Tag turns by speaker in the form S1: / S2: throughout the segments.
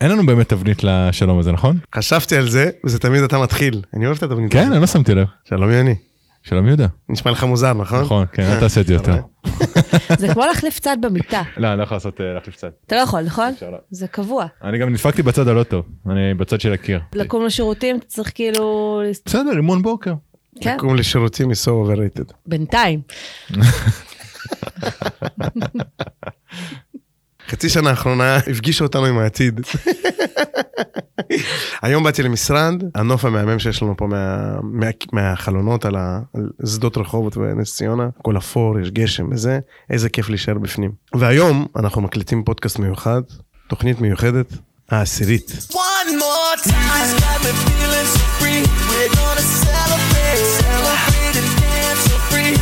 S1: אין לנו באמת תבנית לשלום הזה, נכון?
S2: חשבתי על זה, וזה תמיד אתה מתחיל. אני אוהב את התבנית.
S1: כן,
S2: הזאת.
S1: אני לא שמתי לב.
S2: שלום יוני.
S1: שלום יהודה.
S2: נשמע לך מוזר, נכון?
S1: נכון, כן, אל תעשה את זה יותר.
S2: אתה
S3: זה כמו להחליף צד במיטה.
S1: לא, אני לא יכול לעשות, אה, להחליף צד.
S3: אתה לא יכול, נכון?
S1: אפשר לא.
S3: זה קבוע.
S1: אני גם נדפקתי בצד הלא טוב, אני בצד של הקיר.
S3: לקום לשירותים, אתה צריך כאילו... להס-
S1: בסדר, אימון בוקר.
S3: כן,
S2: קום לשירותים is so overrated.
S3: בינתיים.
S1: כן.
S2: חצי שנה האחרונה הפגישה אותנו עם העתיד. היום באתי למשרד, הנוף המהמם שיש לנו פה מה, מה, מהחלונות על, ה, על שדות רחובות ונס ציונה, הכל אפור, יש גשם וזה, איזה כיף להישאר בפנים. והיום אנחנו מקליטים פודקאסט מיוחד, תוכנית מיוחדת, העשירית.
S4: One more time. It's got me feeling so free. We're gonna celebrate, celebrate and dance so free.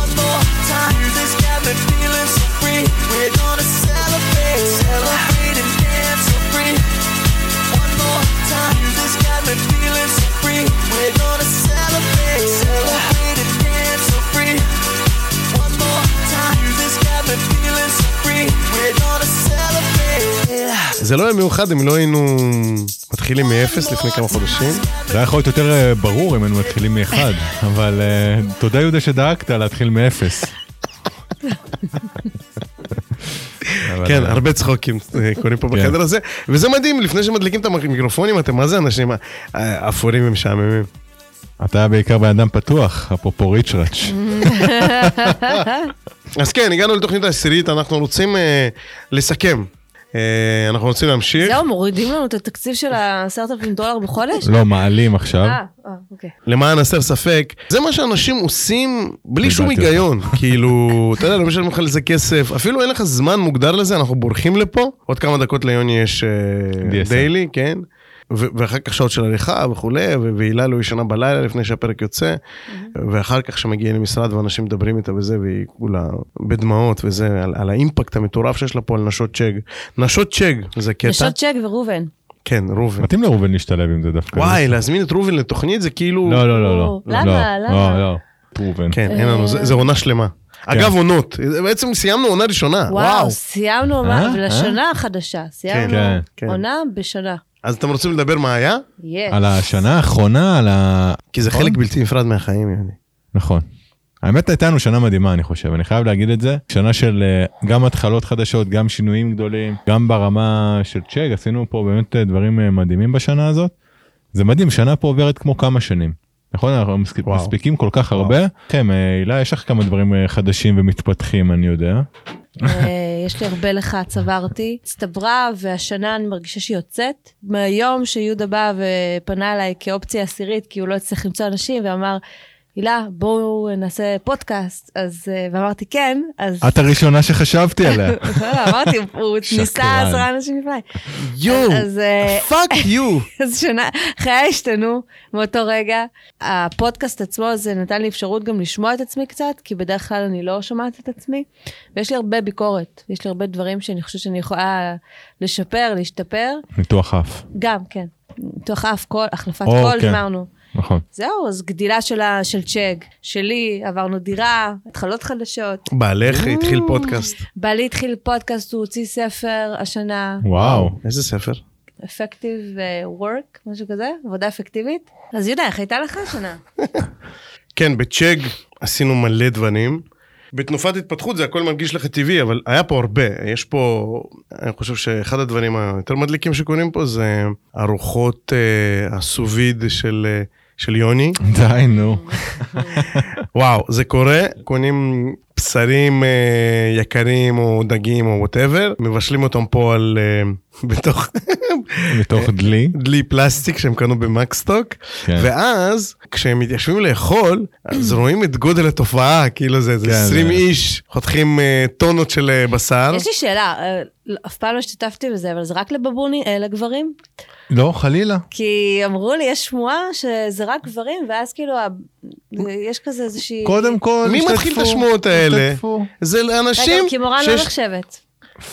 S4: One more time. Music's got me feeling so free. We're gonna celebrate, celebrate and dance so free. One more time. Music's got me feeling so free. We're gonna celebrate, celebrate and dance so free. One more time. Music's got me feeling so free. We're gonna celebrate. Yeah.
S2: זה לא היה מיוחד אם לא היינו מתחילים מאפס לפני כמה חודשים.
S1: זה היה יכול להיות יותר אה, ברור אם היינו מתחילים מאחד, אבל אה, תודה יהודה שדאגת להתחיל מאפס. אבל,
S2: כן,
S1: אה,
S2: הרבה צחוקים אה, קורים פה בחדר הזה, וזה מדהים, לפני שמדליקים את המיקרופונים, אתם מה זה אנשים אה, אפורים ומשעממים.
S1: אתה בעיקר בן אדם פתוח, אפרופו ריצ'ראץ'.
S2: אז כן, הגענו לתוכנית העשירית, אנחנו רוצים אה, לסכם. אה, אנחנו רוצים להמשיך,
S3: זהו, מורידים לנו את התקציב של ה-10,000 דולר בחודש?
S1: לא, מעלים עכשיו.
S3: אה, אה, אוקיי.
S2: למען הסר ספק, זה מה שאנשים עושים בלי שום
S1: לדעתי.
S2: היגיון. כאילו, אתה יודע, לא משלמים לך לזה כסף, אפילו אין לך זמן מוגדר לזה, אנחנו בורחים לפה. עוד כמה דקות ליוני יש אה,
S1: DSM.
S2: דיילי, כן? ו- ואחר כך שעות של הליכה וכולי, ו- והילה לא ישנה בלילה לפני שהפרק יוצא, ואחר כך שמגיע למשרד ואנשים מדברים איתה וזה, והיא כולה בדמעות וזה, על, על האימפקט המטורף שיש לה פה על נשות צ'ג. נשות צ'ג, זה קטע.
S3: נשות צ'ק וראובן.
S1: אה,
S2: כן, ראובן.
S1: מתאים לראובן להשתלב עם זה דווקא.
S2: וואי, להזמין את ראובן לתוכנית זה כאילו...
S1: לא, לא, לא, לא.
S3: למה?
S1: לא,
S3: למה?
S1: לא, לא. ראובן.
S2: כן, אין לנו, זה
S3: אה,
S2: זה עונה שלמה.
S1: כן.
S2: אגב, עונות. בעצם סיימנו עונה ראשונה. וואו.
S3: וואו, סיימנו ממש,
S1: אה?
S3: לשנה החדשה. סיימנו
S1: כן,
S2: כן.
S3: עונה בשנה.
S2: אז אתם רוצים לדבר מה היה?
S3: יס.
S1: על השנה האחרונה, על ה...
S2: כי זה חלק בלתי נפרד מהחיים, יעני.
S1: נכון. האמת הייתה לנו שנה מדהימה אני חושב, אני חייב להגיד את זה. שנה של אה, גם התחלות חדשות, גם שינויים גדולים, גם ברמה של צ'ק, עשינו פה באמת אה, דברים אה, מדהימים בשנה הזאת. זה מדהים, שנה פה עוברת כמו כמה שנים. נכון? אנחנו מסק-
S2: וואו.
S1: מספיקים כל כך הרבה. כן, אה, הילה, יש לך כמה דברים אה, חדשים ומתפתחים, אני יודע.
S3: אה, יש לי הרבה לך, צברתי. הצטברה, והשנה אני מרגישה שהיא יוצאת. מהיום שיהודה בא ופנה אליי כאופציה עשירית, כי הוא לא הצליח למצוא אנשים, ואמר, הילה, בואו נעשה פודקאסט. אז, אה, ואמרתי כן, אז...
S1: את הראשונה שחשבתי עליה.
S3: לא, אמרתי, הוא ניסה
S1: שקרן.
S3: עשרה אנשים לפני.
S2: יואו,
S3: אז, אה,
S2: פאק יו.
S3: אז שנה, חיי השתנו מאותו רגע. הפודקאסט עצמו, זה נתן לי אפשרות גם לשמוע את עצמי קצת, כי בדרך כלל אני לא שומעת את עצמי, ויש לי הרבה ביקורת. יש לי הרבה דברים שאני חושבת שאני יכולה לשפר, להשתפר.
S1: ניתוח אף.
S3: גם, כן. ניתוח אף קול, החלפת
S1: או,
S3: קול,
S1: כן.
S3: אמרנו.
S1: נכון.
S3: זהו, אז גדילה שלה, של צ'ג, שלי, עברנו דירה, התחלות חדשות.
S2: בעלך התחיל פודקאסט.
S3: בעלי התחיל פודקאסט, הוא הוציא ספר השנה.
S1: וואו.
S2: איזה ספר?
S3: אפקטיב וורק, משהו כזה, עבודה אפקטיבית. אז יהודה, איך הייתה לך השנה?
S2: כן, בצ'ג עשינו מלא דברים. בתנופת התפתחות זה הכל מרגיש לך טבעי, אבל היה פה הרבה. יש פה, אני חושב שאחד הדברים היותר מדליקים שקורים פה זה ארוחות אה, הסוביד של, אה, של יוני.
S1: די, נו.
S2: וואו, זה קורה, קונים בשרים אה, יקרים או דגים או וואטאבר, מבשלים אותם פה על... אה, בתוך
S1: מתוך דלי.
S2: דלי פלסטיק שהם קנו במקסטוק,
S1: כן.
S2: ואז כשהם מתיישבים לאכול, אז רואים את גודל התופעה, כאילו זה איזה
S1: כן,
S2: 20
S1: זה-
S2: איש חותכים אה, טונות של אה, בשר.
S3: יש לי שאלה, אה, לא- אף פעם לא השתתפתי בזה, אבל זה רק לבבוני, אה, לגברים?
S1: לא, חלילה.
S3: כי אמרו לי, יש שמועה שזה רק גברים, ואז כאילו, ה- יש כזה איזושהי...
S1: קודם כל,
S2: מי מתחיל
S1: השתתפו,
S2: את השמועות האלה?
S1: השתתפו.
S2: זה לאנשים
S3: רגע, כי מורן לא נחשבת.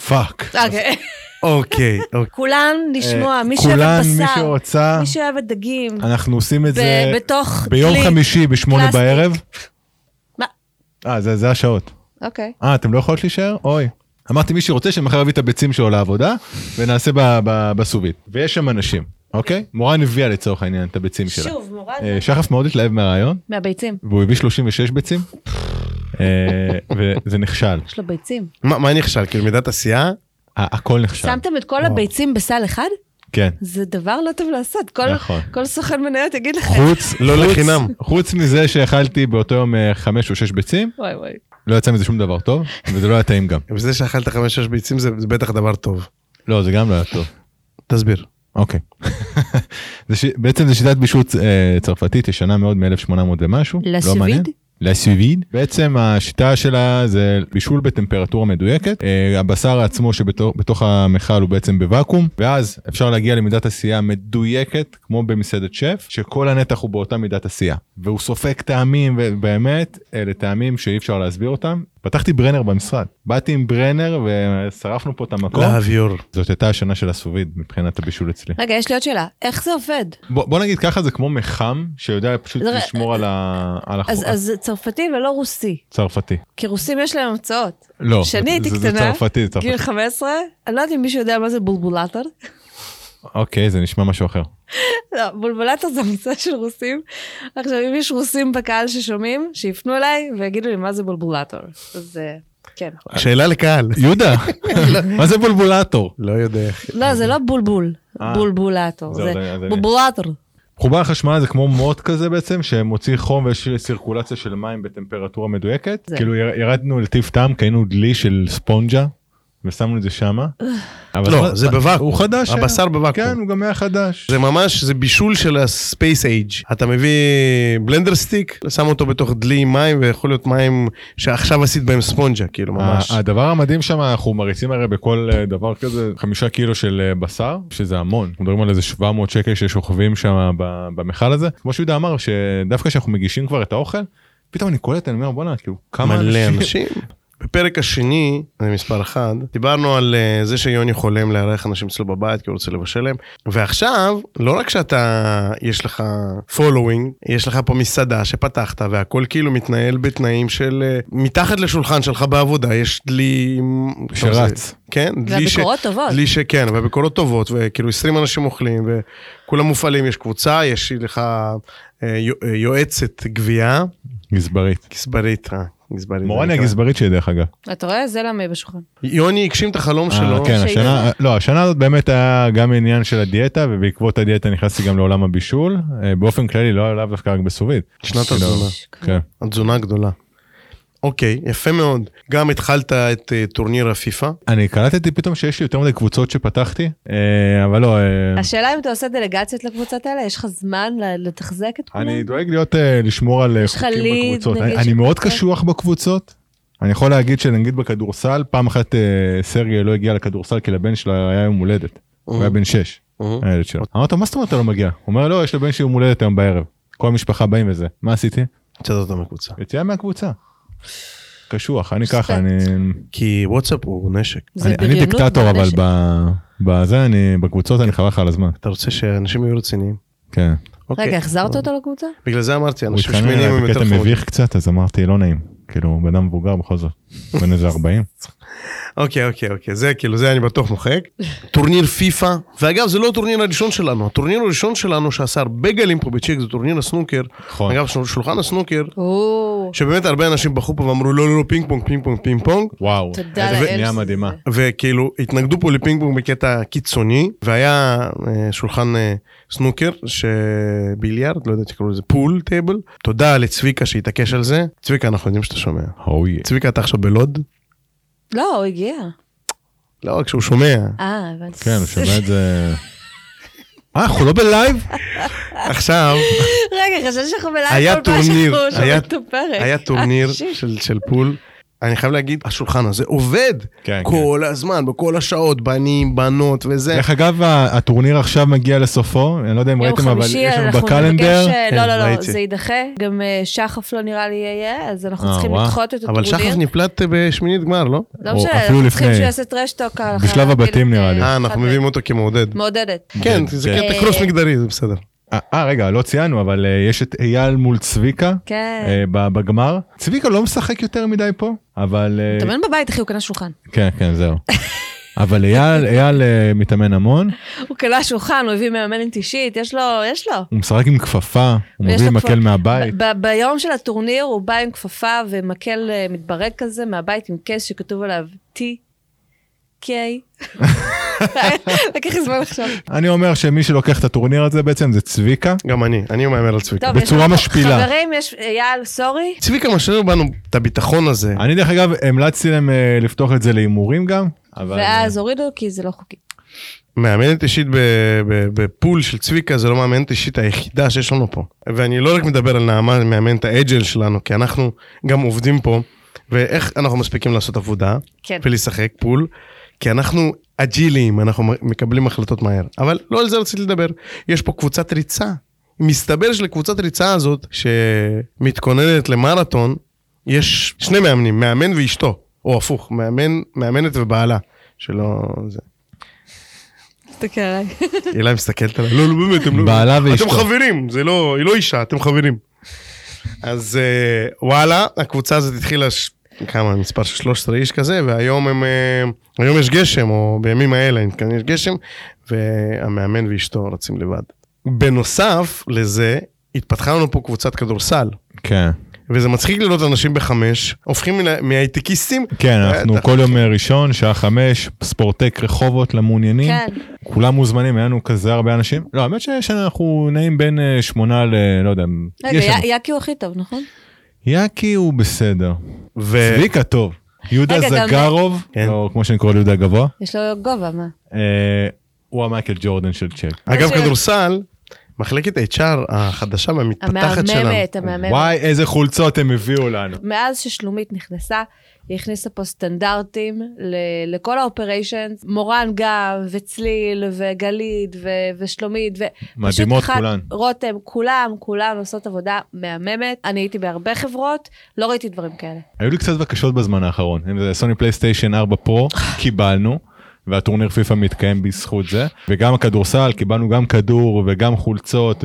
S1: פאק.
S3: אוקיי.
S2: אוקיי, אוקיי.
S3: כולן לשמוע, מי שאוהב
S1: אה, כולן,
S3: בשר,
S1: מי שרוצה,
S3: מי שאוהב דגים,
S1: אנחנו עושים את
S3: ב-
S1: זה
S3: בתוך
S1: ביום
S3: כלי.
S1: חמישי בשמונה
S3: פלסטיק.
S1: בערב.
S3: מה?
S1: אה, זה זה השעות.
S3: אוקיי.
S1: אה, אתם לא יכולות להישאר? אוי. אמרתי, מי שרוצה שמחר יביא את הביצים שלו לעבודה, ונעשה ב- ב- בסובית. ויש שם אנשים, אוקיי? מורן הביאה לצורך העניין את הביצים שלה.
S3: שוב, מורד
S1: אה, שחף מאוד התלהב מהרעיון,
S3: מהביצים.
S1: והוא הביא 36 ביצים, אה, וזה נכשל.
S3: יש לו ביצים.
S1: כן.
S2: מה מה נכשל? כאילו מידת עשייה?
S1: ה- הכל נכשל.
S3: שמתם את כל הביצים בסל אחד?
S1: כן.
S3: זה דבר לא טוב לעשות. כל-
S1: נכון.
S3: כל סוכן מניות יגיד לך,
S1: חוץ,
S2: לא
S1: חוץ-
S2: לחינם.
S1: חוץ מזה שאכלתי באותו יום אה, חמש או שש ביצים,
S3: וואי וואי.
S1: לא יצא מזה שום דבר טוב, וזה לא היה טעים גם.
S2: וזה שאכלת חמש שש ביצים זה זה בטח דבר טוב.
S1: לא, זה גם לא היה טוב.
S2: תסביר.
S1: אוקיי. זה ש... בעצם זו שיטת בישול אה, צרפתית ישנה מאוד מ-1800 ומשהו. לא
S3: La sous vide?
S1: לסיוויד. בעצם השיטה שלה זה בישול בטמפרטורה מדויקת. אה, הבשר עצמו שבתוך בתוך המכל הוא בעצם בוואקום, ואז אפשר להגיע למידת עשייה מדויקת, כמו במסעדת שף, שכל הנתח הוא באותה מידת עשייה. והוא סופג טעמים, ובאמת, אלה טעמים שאי אפשר להסביר אותם. פתחתי ברנר במשרד. באתי עם ברנר ושרפנו פה את
S2: לא.
S1: המקום.
S2: להביור.
S1: זאת הייתה השנה של הסוביד מבחינת הבישול אצלי.
S3: רגע, יש לי עוד שאלה. איך זה עובד?
S1: בוא, בוא נגיד ככה זה כמו מחם שיודע פשוט
S3: זה-
S1: לשמור על, ה, על החוק
S3: אז- אז צרפתי ולא רוסי.
S1: הצרפתי.
S3: כי רוסים יש להם המצאות.
S1: לא,
S3: כשאני
S1: זה-
S3: הייתי
S1: זה- זה
S3: קטנה,
S1: צרפתי, זה צרפתי.
S3: גיל 15, אני לא יודעת אם מישהו יודע מה זה בולבולטר.
S1: אוקיי, זה נשמע משהו אחר.
S3: לא, בולבולטר זה המצאה של רוסים. עכשיו, אם יש רוסים בקהל ששומעים, שיפנו אליי ויגידו לי מה זה בולבולטר. אז אה, כן.
S2: שאלה לקהל.
S1: יהודה, מה זה בולבולטור?
S2: לא יודע.
S3: לא, זה לא בולבול,
S1: אה.
S3: בולבולטור.
S1: זה
S3: זה
S1: עוד- אז אני-
S3: בולבולטר.
S1: חובר חשמל זה כמו מוט כזה בעצם שמוציא חום ויש סירקולציה של מים בטמפרטורה מדויקת.
S3: זה.
S1: כאילו יר- ירדנו לטיב טעם כי היינו דלי של ספונג'ה ושמנו את זה שמה.
S3: אה.
S1: אבל אה,
S2: לא, זה בוואקום.
S1: הוא חדש. היה.
S2: הבשר בוואקום.
S1: כן, הוא גם היה חדש.
S2: זה ממש, זה בישול של הספייס אייג'. אתה מביא בלנדר סטיק, שם אותו בתוך דלי עם מים, ויכול להיות מים שעכשיו עשית בהם ספונג'ה, כאילו, ממש.
S1: ה- הדבר המדהים שם אנחנו מריצים הרי בכל אה, דבר כזה חמישה קילו של אה, בשר שזה המון אנחנו מדברים על איזה 700 שקל ששוכבים שם ב- במכל הזה כמו שיהודה אמר שדווקא כשאנחנו מגישים כבר את האוכל פתאום אני קולט אני אומר בואנה כאילו כמה
S2: מלא אנשים. בפרק השני, זה מספר אחד, דיברנו על אה, זה שיוני חולם לארח אנשים אצלו בבית כי הוא רוצה לבשל להם. ועכשיו, לא רק שאתה, יש לך following, יש לך פה מסעדה שפתחת והכל כאילו מתנהל בתנאים של... אה, מתחת לשולחן שלך בעבודה יש דלי... עם-
S1: שרץ.
S2: כן, דלי ש...
S3: והביקורות טובות.
S2: דלי שכן, והביקורות טובות, וכאילו 20 אנשים אוכלים, וכולם מופעלים, יש קבוצה, יש לך אה, יו- אה, יועצת גבייה,
S1: גזברית.
S2: גזברית, אה, גזברית.
S1: מורן
S2: זה
S1: היא
S2: נקרא.
S1: הגזברית שלי דרך אגב.
S3: אתה רואה? זה למה היא בשולחן.
S2: יוני הגשים את החלום
S1: אה,
S2: שלו.
S1: כן,
S3: שהיא-
S1: השנה, לא, השנה הזאת באמת היה גם עניין של הדיאטה, ובעקבות הדיאטה נכנסתי גם לעולם הבישול. אה, באופן כללי, לא לאו דווקא רק בסובית.
S2: שנת
S1: כאילו,
S2: הזונה.
S1: כן.
S2: התזונה הגדולה. אוקיי, יפה מאוד. גם התחלת את אה, טורניר הפיפא.
S1: אני קלטתי פתאום שיש לי יותר מדי קבוצות שפתחתי, אה, אבל לא, אה,
S3: השאלה אם אתה עושה דלגציות לקבוצות האלה, יש לך זמן ל- לתחזק את כולם?
S1: אני דואג להיות, אה, לשמור על אה,
S3: יש לך
S1: חוקים
S3: ליד,
S1: בקבוצות.
S3: נגיד,
S1: אני- אני מאוד
S3: שקבוצה?
S1: קשוח בקבוצות. אני יכול להגיד שנגיד בכדורסל, פעם אחת אה, סרגיה לא הגיע לכדורסל כי לבן שלה היה יום הולדת. הוא
S3: Mm.
S1: היה בן שש,
S2: אוקיי.
S1: הילד שלו. אמרתי לו, מה זאת אומרת אתה לא מגיע? הוא אומר, לא, יש לבן שלי יום הולדת היום בערב. כל המשפחה באים וזה. מה עשיתי?
S2: הוצאת אותו מהקבוצה.
S1: יציאה מהקבוצה. קשוח, אני ככה,
S3: סט.
S1: אני...
S2: כי וואטסאפ הוא נשק.
S3: זה
S1: אני- אני
S3: בריונות
S1: דיקטטור, אבל
S3: בנשק.
S1: ב- בזה, אני... בקבוצות אני חבל לך על הזמן.
S2: אתה רוצה שאנשים יהיו רציניים.
S1: כן.
S2: אוקיי.
S3: רגע, החזרת אותו לקבוצה?
S2: בגלל זה אמרתי,
S1: הוא
S2: אנשים
S1: התחנן
S2: שמנים
S1: אליי
S2: הם יותר
S1: בקטע
S2: חמודים.
S1: מביך קצת, אז אמרתי, לא נעים. כאילו, הוא בן אדם מבוגר בכל זאת. בן איזה 40.
S2: אוקיי, אוקיי, אוקיי, זה כאילו, זה אני בטוח מוחק. טורניר פיפא, ואגב, זה לא הטורניר הראשון שלנו. הטורניר הראשון שלנו שעשה הרבה גלים פה בצ'ק, זה טורניר הסנוקר.
S1: נכון.
S2: אגב, של- שולחן הסנוקר,
S3: או,
S2: שבאמת הרבה אנשים בחרו פה ואמרו, לא, לא, לא, פינג פונג, פינג פונג, פינג פונג.
S1: וואו,
S3: תודה לאל
S1: איזה פנייה
S3: שזה
S1: מדהימה.
S3: זה.
S2: וכאילו התנגדו פה לפינג פונג בקטע קיצוני, והיה אה, שולחן אה, סנוקר, שביליארד, לא יודע תקראו לזה פול טייבל. תודה לצביקה שהתעקש על זה. צביקה, אנחנו יודעים שאתה שומע.
S1: אוי.
S2: צביקה, אתה עכשיו בלוד?
S3: לא, הוא הגיע.
S2: לא, רק שהוא שומע.
S3: אה, הבנתי.
S1: כן, הוא שומע את זה... אה, אנחנו לא בלייב?
S2: עכשיו,
S3: רגע, חשבתי שאנחנו
S2: היה
S3: בלילה כל פעם
S2: טורניר,
S3: שאנחנו שומעים
S2: היה-
S3: את הפרק.
S2: היה
S3: אה,
S2: טורניר
S3: שיט.
S2: של- של פול. אני חייב להגיד, השולחן הזה עובד
S1: כן,
S2: כל הזמן, בכל השעות, בנים, בנות וזה.
S1: דרך אגב, ה- הטורניר עכשיו מגיע לסופו, אני לא יודע אם
S3: יום
S1: ראיתם, אבל יש
S3: חמישי
S1: לנו
S3: אנחנו
S1: בקלנדר.
S3: נבקש, אה,
S2: כן,
S3: לא, לא, לא,
S2: ראיתי.
S3: זה יידחה. גם אה, שחף לא נראה לי יהיה, אז אנחנו
S1: אה,
S3: צריכים
S1: וואו.
S3: לדחות את
S2: אבל שחף
S3: הטורניר.
S2: נפלט אה, בשמינית גמר, לא?
S3: לא
S1: או
S3: משנה,
S1: אפילו
S3: אנחנו צריכים
S1: לפני.
S3: שהוא יעשה טרשטוק.
S1: בשלב הבתים נראה לי.
S2: אה, אנחנו מביאים אותו כמעודד.
S3: אה, מעודדת.
S2: כן, זה
S1: כן.
S2: קטע קרוס מגדרי, זה בסדר.
S1: אה, אה, רגע, לא ציינו, אבל אה, יש את אייל מול צביקה
S3: כן.
S1: אה, ב- בגמר. צביקה לא משחק יותר מדי פה, אבל... אה,
S3: מתאמן בבית, אחי, הוא קנה שולחן.
S1: כן, כן, זהו. אבל אייל, אייל אה, מתאמן המון,
S3: הוא קנה שולחן, הוא הביא מאמנת אישית, יש לו, יש לו.
S1: הוא משחק עם כפפה, הוא
S3: ויש
S1: מביא
S3: לו
S1: מקל
S3: כבר-
S1: מהבית.
S3: ב- ב- ביום של הטורניר הוא בא עם כפפה ומקל אה, מתברק כזה מהבית עם כס שכתוב עליו T-K. לקח לי זמן לחשוב.
S1: אני אומר שמי שלוקח את הטורניר הזה בעצם זה צביקה.
S2: גם אני, אני מהמר על צביקה.
S3: טוב, יש
S1: בצורה
S3: לנו-
S1: משפילה.
S3: חברים, יש אייל, סורי.
S2: צביקה משאיר בנו את הביטחון הזה.
S1: אני דרך אגב המלצתי להם אה, לפתוח את זה להימורים גם, אבל... אה,
S3: ואז הורידו כי זה לא חוקי.
S2: מאמנת אישית ב- ב- בפול של צביקה זה לא מאמנת אישית היחידה שיש לנו פה. ואני לא רק מדבר על נעמה, מאמנת האג'ל שלנו, כי אנחנו גם עובדים פה, ואיך אנחנו מספיקים לעשות עבודה
S3: כן.
S2: ולשחק פול, כי אנחנו אג'ילים, אנחנו מקבלים החלטות מהר. אבל לא על זה רציתי לדבר, יש פה קבוצת ריצה. מסתבר שלקבוצת ריצה הזאת, שמתכוננת למרתון, יש שני מאמנים, מאמן ואשתו, או הפוך, מאמן, מאמנת ובעלה, שלא... זה.
S3: תסתכל עליי.
S2: הילה מסתכלת עליי, לא, לא באמת, הם לא...
S1: בעלה ואשתו.
S2: אתם חברים, זה לא, היא לא אישה, אתם חברים. אז אה, וואלה, הקבוצה הזאת התחילה, ש... כמה, מספר של 13 איש כזה, והיום הם, אה, היום יש גשם, או בימים האלה, אם כאן יש גשם, והמאמן ואשתו רצים לבד. בנוסף לזה, התפתחה לנו פה קבוצת כדורסל.
S1: כן,
S2: וזה מצחיק לראות אנשים בחמש, הופכים מן- מהייטקיסטים.
S1: כן, אנחנו
S2: בטח.
S1: כל יום אה, ראשון, שעה חמש, ספורטק רחובות למעוניינים.
S3: כן.
S1: כולם מוזמנים, היה לנו כזה הרבה אנשים. לא, האמת ש- שאנחנו נעים בין אה, שמונה ל... לא יודע.
S3: רגע,
S1: יש לנו.
S3: י- יקי הוא הכי טוב, נכון?
S1: יאקי הוא בסדר.
S2: ו...
S1: צביקה טוב. יהודה
S3: רגע, גם-
S1: זגרוב,
S2: אה, כן.
S1: או כמו שאני קורא ליהודה גבוה,
S3: יש לו גובה, מה?
S1: אה, הוא המייקל ג'ורדן של צ'ק.
S2: אגב,
S3: יש-
S2: כדורסל, מחלקת HR החדשה והמתפתחת שלנו.
S3: המהממת, המהממת.
S1: וואי, איזה חולצות הם הביאו לנו.
S3: מאז ששלומית נכנסה, היא הכניסה פה סטנדרטים ל- לכל האופריישנס, מורן גם, וצליל, וגלית, ו- ושלומית, ו...
S1: מדהימות
S3: פשוט אחת,
S1: כולן.
S3: רותם, כולם, כולם עושות עבודה מהממת. אני הייתי בהרבה חברות, לא ראיתי דברים כאלה.
S1: היו לי קצת בקשות בזמן האחרון, אם זה סוני פלייסטיישן 4 פרו, קיבלנו, והטורניר פיפא מתקיים בזכות זה, וגם הכדורסל, קיבלנו גם כדור וגם חולצות,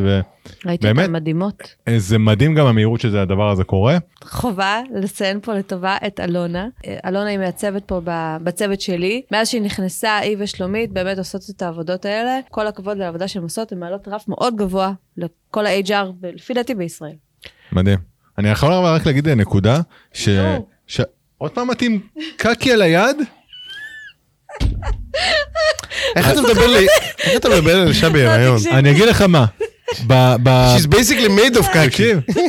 S3: ראיתי
S1: באמת?
S3: אותן מדהימות.
S1: וזה מדהים גם המהירות שזה הדבר הזה קורה.
S3: חובה לציין פה לטובה את אלונה. אה, אלונה היא מעצבת פה ב- בצוות שלי. מאז שהיא נכנסה, היא ושלומית באמת עושות את העבודות האלה. כל הכבוד לעבודה שהן עושות, הן מעלות רף מאוד גבוה לכל ה-HR, ב- לפי דעתי בישראל.
S1: מדהים. אני יכול אבל רק להגיד נקודה, ש...
S3: נו.
S1: ש... עוד פעם מתאים קקי על היד?
S2: איך אתה מדבר לי, איך אתה מדבר על אישה בהיריון?
S3: תקשיב.
S1: אני אגיד לך מה, ב... ב...
S2: She's basically made of
S1: תקשיב,
S2: קקי.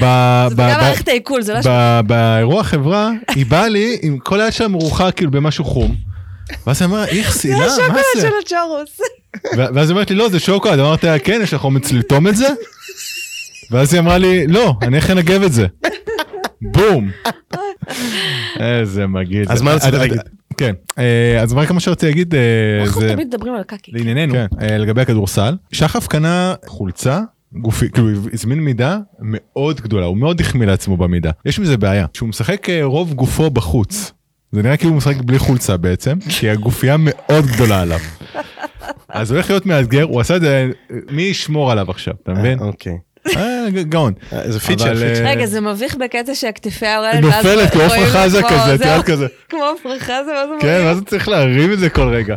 S1: ב...
S3: זה
S1: ב- ב-
S3: גם מערכת העיכול, זה לא... ש-
S1: ב- באירוע חברה, היא באה לי עם כל היד שלה מרוחה כאילו במשהו חום. ואז היא אמרה, איך שנאה, לא, מה זה? אה,
S3: השוקולד של הצ'רוס.
S1: ו- ואז היא אומרת לי, לא, זה שוקולד. אמרתי לה, כן, יש לך אומץ לטום את זה? ואז היא אמרה לי, לא, אני איך אנגב את זה. בום. איזה מגעיל.
S2: אז
S1: זה.
S2: מה רצית
S1: אה,
S2: להגיד?
S1: אה, כן, אה, אז רק מה שרציתי להגיד, אה,
S3: אנחנו
S1: זה
S3: תמיד מדברים על קקי.
S1: לענייננו, אה, לגבי הכדורסל, שחף קנה חולצה. גופי, כאילו הוא הזמין מידה מאוד גדולה, הוא מאוד החמיא לעצמו במידה. יש עם זה בעיה, שהוא משחק אה, רוב גופו בחוץ. זה נראה כאילו הוא משחק בלי חולצה בעצם, כי הגופייה מאוד גדולה עליו. אז הולך להיות מאתגר, הוא עשה את זה, אה, מי ישמור עליו עכשיו, אתה מבין?
S2: אוקיי.
S1: אה, ג- גאון.
S2: אה, זה פיצ'ר,
S1: אבל,
S2: פיצ'ר.
S1: אה,
S3: רגע, זה מביך בקטע שהכתפי האורלת, ואז
S1: נופלת כמו
S3: רואים
S1: עופרה חזה
S3: כמו-
S1: כזה, את
S3: זהו,
S1: יודעת כזה.
S3: כמו עופרה חזה, ואז אומרים,
S1: כן, מה זה צריך להרים את זה כל רגע?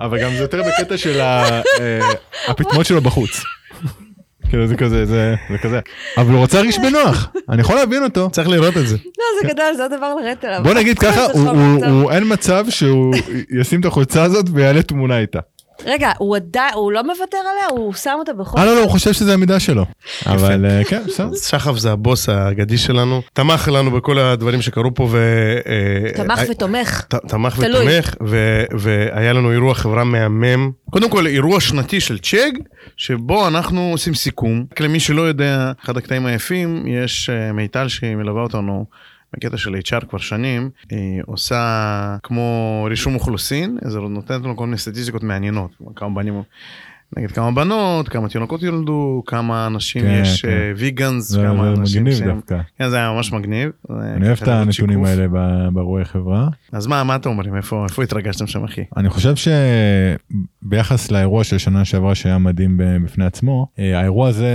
S1: אבל גם זה יותר בקטע של ה- אה, הפטמות שלו בחוץ. כאילו זה כזה, זה זה כזה. אבל הוא רוצה להרגיש בנוח, אני יכול להבין אותו.
S2: צריך לראות את זה.
S3: לא, זה גדול, זה הדבר לרדת עליו.
S1: כן. בוא נגיד ככה,
S3: זה
S1: הוא-
S3: חום,
S1: הוא-
S3: טוב.
S1: הוא אין מצב שהוא ישים את החולצה הזאת ויעלה תמונה איתה.
S3: רגע, הוא עדיין, הוא לא מוותר עליה? הוא שם אותה בכל...
S1: אה לא לא, הוא חושב שזה המידה שלו. אבל אה, כן, בסדר.
S2: אז שחף זה הבוס האגדי שלנו, תמך לנו בכל הדברים שקרו פה ו... אה,
S3: תמך
S2: אה,
S3: ותומך.
S2: ת- תמך
S3: תלוי.
S2: ותומך, ו- והיה לנו אירוע חברה מהמם. קודם כל, אירוע שנתי של צ'ג, שבו אנחנו עושים סיכום. רק למי שלא יודע, אחד הקטעים היפים, יש אה, מיטל שהיא מלווה אותנו בקטע של HR כבר שנים, היא עושה כמו רישום אוכלוסין, אז היא נותנת לנו כל מיני סטטיסטיקות מעניינות, כמה בנים... נגיד כמה בנות, כמה תינוקות ילדו, כמה אנשים
S1: כן,
S2: יש
S1: כן.
S2: אה, ויגאנס,
S1: זה
S2: כמה
S1: זה
S2: אנשים
S1: מגניב
S2: שהם...
S1: דווקא.
S2: כן, זה היה ממש מגניב.
S1: אני אוהב את הנתונים האלה ב- ברואי חברה.
S2: אז מה, מה אתם אומרים? איפה איפה התרגשתם שם, אחי?
S1: אני חושב שביחס לאירוע של שנה שעברה שהיה מדהים ב- בפני עצמו, אה, האירוע הזה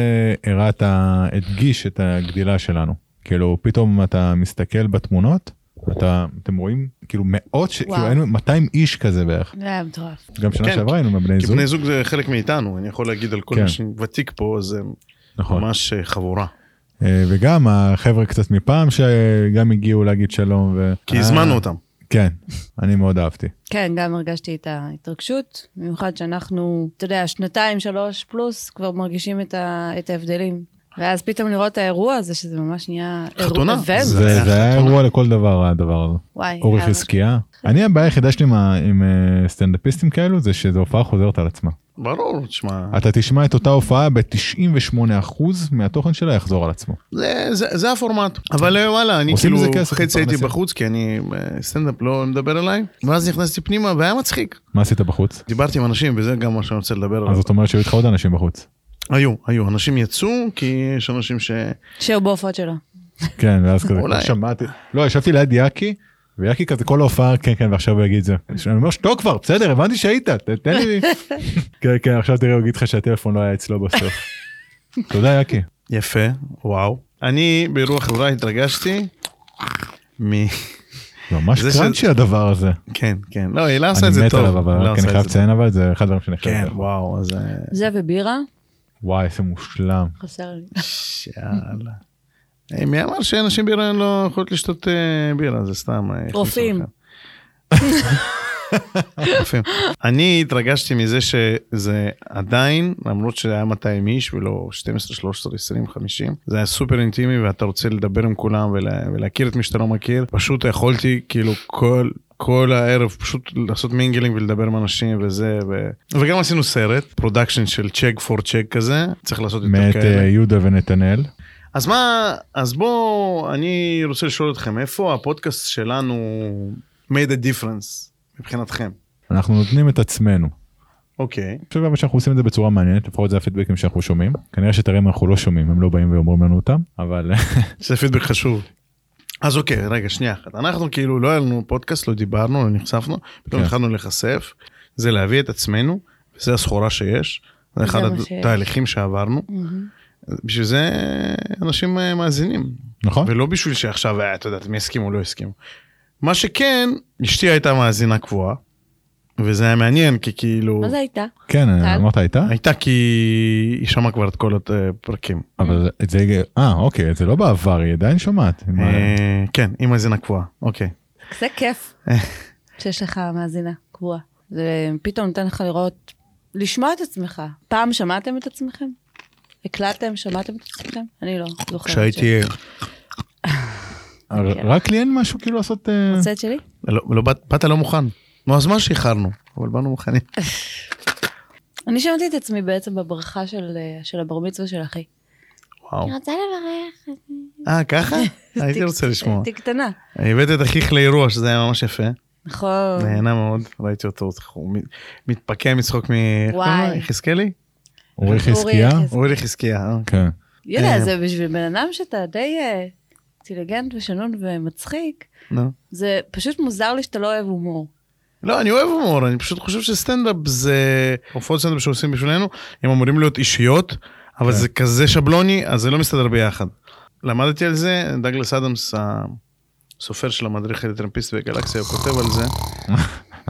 S1: הראה את ה... הדגיש את הגדילה שלנו. כאילו פתאום אתה מסתכל בתמונות, אתה, אתם רואים כאילו מאות, ש...
S5: וואו.
S1: כאילו היינו 200 איש כזה בערך.
S5: זה היה מטורף.
S1: גם שנה
S2: כן,
S1: שעברה היינו מבני
S2: כי
S1: זוג.
S2: בני זוג זה חלק מאיתנו, אני יכול להגיד על כל
S1: כן.
S2: מי שוותיק פה, אז הם
S1: נכון.
S2: ממש אה, חבורה.
S1: אה, וגם החבר'ה קצת מפעם שגם הגיעו להגיד שלום. ו...
S2: כי
S1: אה,
S2: הזמנו אותם.
S1: כן, אני מאוד אהבתי.
S3: כן, גם הרגשתי את ההתרגשות, במיוחד שאנחנו, אתה יודע, שנתיים, שלוש פלוס, כבר מרגישים את, ה, את ההבדלים. ואז פתאום לראות את האירוע הזה, שזה ממש נהיה... אירוע-
S2: חתונה.
S3: event.
S2: זה
S1: זה
S2: היה
S1: זה היה
S2: חתונה.
S1: אירוע לכל דבר הדבר הזה.
S3: וואי,
S1: אורי
S3: היה ממש-
S1: חזקיה. אני הבעיה היחידה שלי עם ה- עם אה, סטנדאפיסטים כאלו זה שזו הופעה חוזרת על עצמה.
S2: ברור, תשמע,
S1: אתה תשמע את אותה הופעה ב-98% מהתוכן שלה יחזור על עצמו.
S2: זה- זה זה הפורמט. אבל אה, וואלה, אני
S1: עושים
S2: כאילו
S1: מזה כסף,
S2: חצי הייתי
S1: מתפרנסים.
S2: בחוץ, כי אני אה, סטנדאפ לא מדבר אליי, ואז נכנסתי פנימה והיה מצחיק.
S1: מה עשית בחוץ?
S2: דיברתי עם אנשים, וזה גם מה שאני רוצה לדבר
S1: אז
S2: עליו.
S1: זאת אומרת שהיו איתך עוד אנשים בחוץ.
S2: היו, היו, אנשים יצאו, כי יש אנשים ש...
S3: שהוא בהופעות שלו.
S1: כן, ואז כזה,
S2: אולי.
S1: כבר שמעתי. לא, ישבתי ליד יאקי, ויאקי כזה כל ההופעה, כן, כן, ועכשיו הוא יגיד את זה. אני אומר, שתוק כבר, בסדר, הבנתי שהיית, ת- תן לי... כן, כן, עכשיו תראה, הוא יגיד לך שהטלפון לא היה אצלו בסוף. תודה, יאקי.
S2: יפה, וואו. אני באירוע חברה התרגשתי מ...
S1: ממש
S2: זה ש-
S1: קראנצ'י הדבר הזה.
S2: כן, כן. לא, הילה עשה את
S1: אני
S2: זה
S1: מת
S2: טוב.
S1: עליו,
S2: הילה
S1: אבל כן,
S2: עושה
S1: אני
S2: את
S1: חייב
S2: זה
S1: לציין, אבל זה אחד הדברים שאני
S2: טוב.
S1: חייב.
S2: כן,
S1: לציין.
S2: וואו, אז... אה,
S3: זה ובירה,
S1: וואי, איזה מושלם.
S3: חסר לי.
S2: שאלה. אה, מי אמר שאנשים בהיריון לא יכולות לשתות אה, בירה? זה סתם... אה, הכניסו
S3: רופאים.
S2: לכם. רופאים. אני התרגשתי מזה שזה עדיין, למרות שהיה 200 איש ולא 12, 13, 20, 50, זה היה סופר אינטימי ואתה רוצה לדבר עם כולם ולה, ולהכיר את מי שאתה לא מכיר. פשוט יכולתי כאילו כל... כל הערב פשוט לעשות מינגלינג ולדבר עם אנשים וזה ו... וגם עשינו סרט פרודקשן של צ'ק פור צ'ק כזה צריך לעשות יותר
S1: מאת
S2: כאלה.
S1: אה, יהודה ונתנאל.
S2: אז מה, אז בואו, אני רוצה לשאול אתכם, איפה הפודקאסט שלנו made a difference מבחינתכם?
S1: אנחנו נותנים את עצמנו.
S2: אוקיי,
S1: אני חושב אבל שאנחנו עושים את זה בצורה מעניינת, לפחות זה הפידבקים שאנחנו שומעים. כנראה שאת הרעים אנחנו לא שומעים, הם לא באים ואומרים לנו אותם, אבל
S2: זה פידבק חשוב. אז אוקיי, רגע, שנייה אחת. אנחנו כאילו, לא היה לנו פודקאסט, לא דיברנו, לא נחשפנו, פתאום
S1: כן.
S2: התחלנו להיחשף, זה להביא את עצמנו, וזה הסחורה שיש, זה אחד
S3: מה
S2: התהליכים שעברנו. בשביל זה אנשים אה, מאזינים,
S1: נכון?
S2: ולא בשביל שעכשיו, אה, את יודעת, מי הסכים או לא הסכים. מה שכן, אשתי הייתה מאזינה קבועה, וזה היה מעניין, כי כאילו,
S5: מה זה הייתה?
S1: כן,
S5: טל?
S1: אמרת הייתה?
S2: הייתה כי היא שמעה כבר את כל אה, הפרקים.
S1: אבל את זה, אה אוקיי, זה לא בעבר, היא עדיין שומעת. מה-
S2: אה, כן, היא מאזינה קבועה, אוקיי.
S3: זה כיף שיש לך מאזינה קבועה. זה פתאום נותן לך לראות, לשמוע את עצמך. פעם שמעתם את עצמכם? הקלטתם, שמעתם את עצמכם? אני לא זוכרת.
S2: כשהייתי... כן.
S1: ר- אה, רק לי אין משהו כאילו לעשות... אה,
S3: הצד שלי?
S2: לא, לא, באת- באת לא מוכן. נו, אז מה שאיחרנו, אבל באנו מוכנים.
S3: אני שמעתי את עצמי בעצם בברכה של, אה, של הבר מצווה של אחי.
S2: וואו.
S3: אני רוצה לברך.
S2: אה, ככה? הייתי
S3: ת-
S2: רוצה לשמוע.
S3: הייתי קטנה.
S2: הבאת את אחיך לאירוע, שזה היה ממש יפה.
S3: נכון.
S2: נהנה מאוד, ראיתי אותו, הוא מת- מתפקע מצחוק מ... איך
S3: וואי.
S2: קוראים לו? יחזקאלי?
S1: אורי חזקיה?
S3: אורי חזקיה.
S2: אורי חזקיה. אה.
S1: כן.
S3: יאללה,
S2: אה.
S3: זה בשביל בן אדם שאתה די אה, אינטליגנט ושנון ומצחיק,
S2: נו.
S3: זה פשוט מוזר לי שאתה לא אוהב הומור.
S2: לא, אני אוהב הומור, אני פשוט חושב שסטנדאפ זה הופעות סטנדאפ שעושים בשבילנו, הם אמורים להיות אישיות, אבל
S1: כן.
S2: זה כזה שבלוני, אז זה לא מסתדר ביחד. למדתי על זה, דגלס אדמס, הסופר של המדריך לטרמפיסט בגלקסיה, הוא כותב על זה.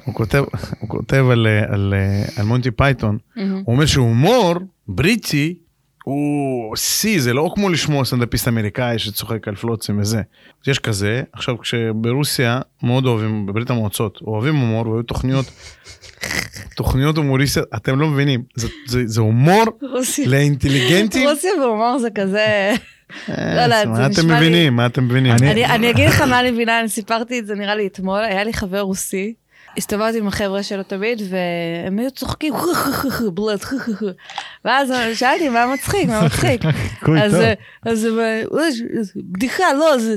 S2: הוא כותב, הוא כותב על, אה, על, אה, על מונטי פייתון, הוא אומר שהומור בריטי הוא שיא, זה לא כמו לשמוע סטנדאפיסט אמריקאי שצוחק על פלוצים וזה. אז יש כזה, עכשיו כשברוסיה מאוד אוהבים, בברית המועצות, אוהבים הומור, והיו תוכניות, תוכניות הומוריסטיות, אתם לא מבינים, זה, זה, זה הומור
S3: רוסיה.
S2: לאינטליגנטים.
S3: רוסיה והומור זה כזה...
S2: אה,
S3: לא, זה
S2: מה אתם
S3: נשמע לי-
S2: מבינים? מה אתם מבינים?
S3: אני, אני אגיד לך מה אני מבינה, אני סיפרתי את זה נראה לי אתמול, היה לי חבר רוסי, הסתובבתי עם החבר'ה שלו תמיד, והם היו צוחקים, "חו, חו, חו, חו, בלוט, חו, חו, חו."
S6: ואז שאלתי, מה מצחיק, מה מצחיק?
S1: חיקוי
S6: אז,
S1: טוב.
S6: אה, אז אה, אה, אה, בדיחה, לא, זה...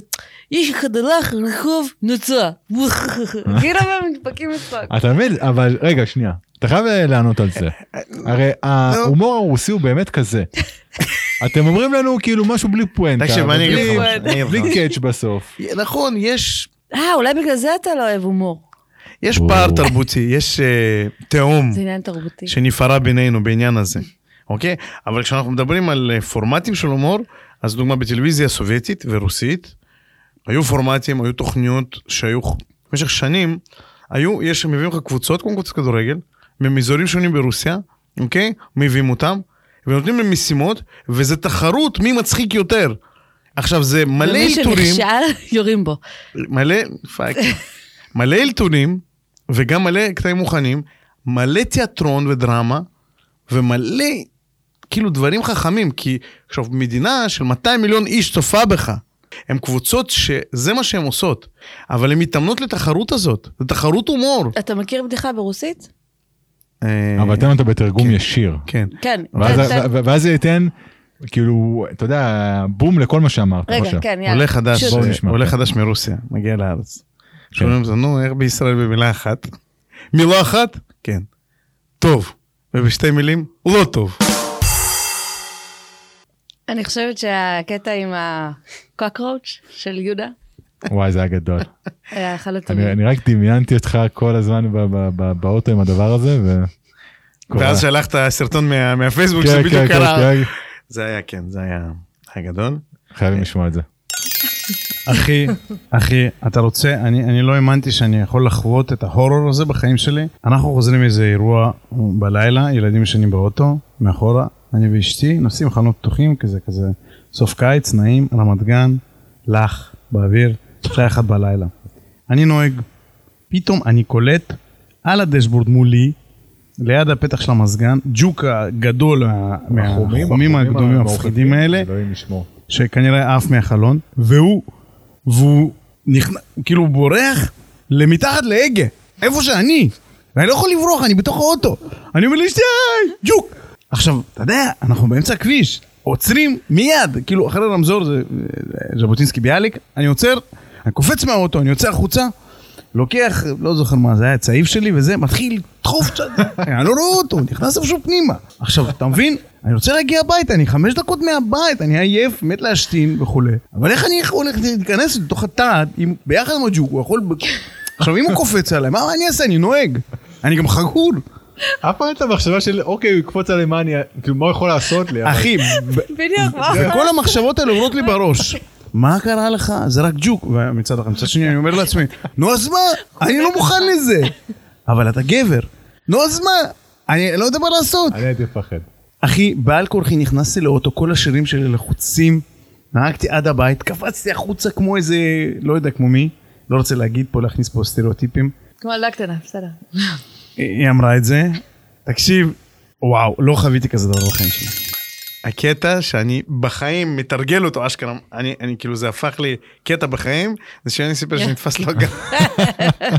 S6: יש לך דלח רחוב נוצה. כאילו הם נדפקים לצחוק.
S1: אתה מבין? אבל רגע, שנייה. אתה חייב אה, לענות על זה. הרי
S2: אה, לא.
S1: ההומור הרוסי הוא באמת כזה. אתם אומרים לנו כאילו משהו בלי פואנטה,
S2: תקשיב, מה אני אגיד
S1: ובלי-
S2: לך?
S6: אני
S2: אגיד לך
S1: בלי
S2: משהו.
S1: קאץ' בסוף.
S2: נכון, יש
S6: אה, אולי בגלל זה אתה לא אוהב הומור.
S2: יש
S1: או.
S2: פער תרבותי, יש אה, תהום
S6: זה עניין תרבותי.
S2: שנפערה בינינו בעניין הזה, אוקיי? אבל כשאנחנו מדברים על אה, פורמטים של הומור, אז דוגמה בטלוויזיה סובייטית ורוסית, היו פורמטים, היו תוכניות שהיו במשך שנים, היו, יש, מביאים לך קבוצות, כמו קבוצת כדורגל, מאזורים שונים ברוסיה, אוקיי? מביאים אותם, ונותנים להם משימות, וזה תחרות מי מצחיק יותר. עכשיו זה מלא
S6: ומי
S2: אלתורים.
S6: שנכשל, יורים בו.
S2: מלא, פאק, מלא אלתונים, וגם מלא קטעים מוכנים, מלא תיאטרון ודרמה, ומלא, כאילו, דברים חכמים, כי עכשיו, מדינה של 200 מיליון איש צופה בך. הם קבוצות שזה מה שהן עושות, אבל הן מתאמנות לתחרות הזאת, זו תחרות הומור.
S6: אתה מכיר בדיחה ברוסית?
S2: אה,
S1: אבל אתם אותו בתרגום
S2: כן.
S1: ישיר.
S2: כן.
S6: כן.
S1: ואז-
S6: כן, כן.
S1: ו- ואז זה ייתן, כאילו, אתה יודע, בום לכל מה שאמרת.
S6: רגע,
S1: עכשיו.
S6: כן, יאללה.
S2: עולה חדש,
S6: פשוט.
S1: בואו
S2: אה,
S1: נשמע.
S2: עולה חדש מרוסיה, מגיע לארץ. שואלים אותו, נו, איך בישראל במילה אחת? מילה אחת? כן. טוב. ובשתי מילים? לא טוב.
S6: אני חושבת שהקטע עם הקוקרוץ' של יהודה
S1: וואי, זה היה גדול.
S6: היה אחד
S1: אני
S6: הטובים.
S1: אני רק דמיינתי אותך כל הזמן ב- ב- ב- באוטו עם הדבר הזה, ו...
S2: ואז שלחת סרטון מה- מהפייסבוק
S1: כן, כן,
S2: שבדיוק
S1: כן,
S2: קרה.
S1: כן.
S2: זה היה, כן, זה היה היה גדול.
S1: חייבים לשמוע את זה.
S2: אחי, אחי, אתה רוצה, אני, אני לא האמנתי שאני יכול לחוות את ההורור הזה בחיים שלי. אנחנו חוזרים מאיזה אירוע בלילה, ילדים ישנים באוטו, מאחורה, אני ואשתי, נוסעים חלונות פתוחים, כזה כזה, סוף קיץ, נעים, רמת גן, לח, באוויר, שעה אחת בלילה. אני נוהג, פתאום אני קולט על הדשבורד מולי, ליד הפתח של המזגן, ג'וק הגדול מה- מהחומים הגדולים המפחידים האלה,
S1: אלוהים ישמור.
S2: שכנראה עף מהחלון, והוא, והוא נכנס, כאילו הוא בורח למתחת להגה, איפה שאני. ואני לא יכול לברוח, אני בתוך האוטו. אני אומר לאשתי, "היי, ג'וק. עכשיו, אתה יודע, אנחנו באמצע הכביש, עוצרים מיד, כאילו אחרי רמזור זה אה, ז'בוטינסקי ביאליק, אני עוצר, אני קופץ מהאוטו, אני יוצא החוצה, לוקח, לא זוכר מה, זה היה צעיף שלי וזה, מתחיל לדחוף, צ'ק, אני לא רואה אותו, הוא נכנס איפשהו פנימה. עכשיו, אתה מבין? אני רוצה להגיע הביתה, אני חמש דקות מהבית, אני עייף, מת להשתין וכולי. אבל איך אני יכול להיכנס לתוך התא, אם ביחד עם הג'וק, הוא יכול... ב- עכשיו, אם הוא קופץ עליי, מה אני אעשה? אני נוהג. אני גם חגור.
S1: אף פעם את המחשבה של אוקיי הוא יקפוץ עלי מה אני כאילו מה הוא יכול לעשות לי. אבל-
S2: אחי, ב-
S6: בדיוק, מה?
S2: וכל המחשבות האלה עוברות לי בראש. מה קרה לך? זה רק ג'וק. ומצד אחד, מצד שני, אני אומר לעצמי, נו אז מה? אני לא מוכן לזה. אבל אתה גבר. נו אז מה? אני לא יודע מה לעשות.
S1: אני הייתי מפחד.
S2: אחי, בעל כורחי נכנסתי לאוטו, כל השירים שלי לחוצים, נהגתי עד הבית, קפצתי החוצה כמו איזה, לא יודע כמו מי, לא רוצה להגיד פה, להכניס פה סטריאוטיפים.
S6: כמו ילדה קטנה, בסדר.
S2: היא אמרה את זה. תקשיב, וואו, לא חוויתי כזה דבר בחיים שלי. הקטע שאני בחיים מתרגל אותו אשכרה, אני, אני כאילו זה הפך לי קטע בחיים, זה שאני סיפר שנתפס לו גם.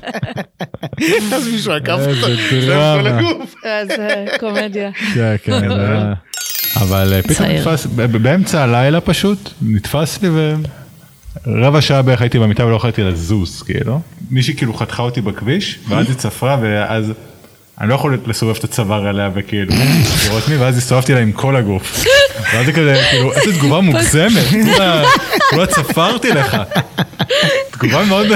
S2: אז מישהו עקף אותו,
S1: איזה
S2: זה היה כל
S1: דרמה.
S2: הגוף.
S6: אז אה, קומדיה.
S1: כן, כן, זה היה- אבל אה, פתאום
S6: צעיר.
S1: נתפס ב- ב- באמצע הלילה פשוט נתפס לי ו... רבע שעה בערך הייתי במיטה ולא יכולתי לזוז כאילו מישהי כאילו חתכה אותי בכביש ואז היא צפרה ואז אני לא יכול לסובב את הצוואר עליה וכאילו לראות מי ואז הסתובבתי לה עם כל הגוף. ואז היא כזה כאילו איזה תגובה מוגזמת כולה- כולה צפרתי לך. תגובה מאוד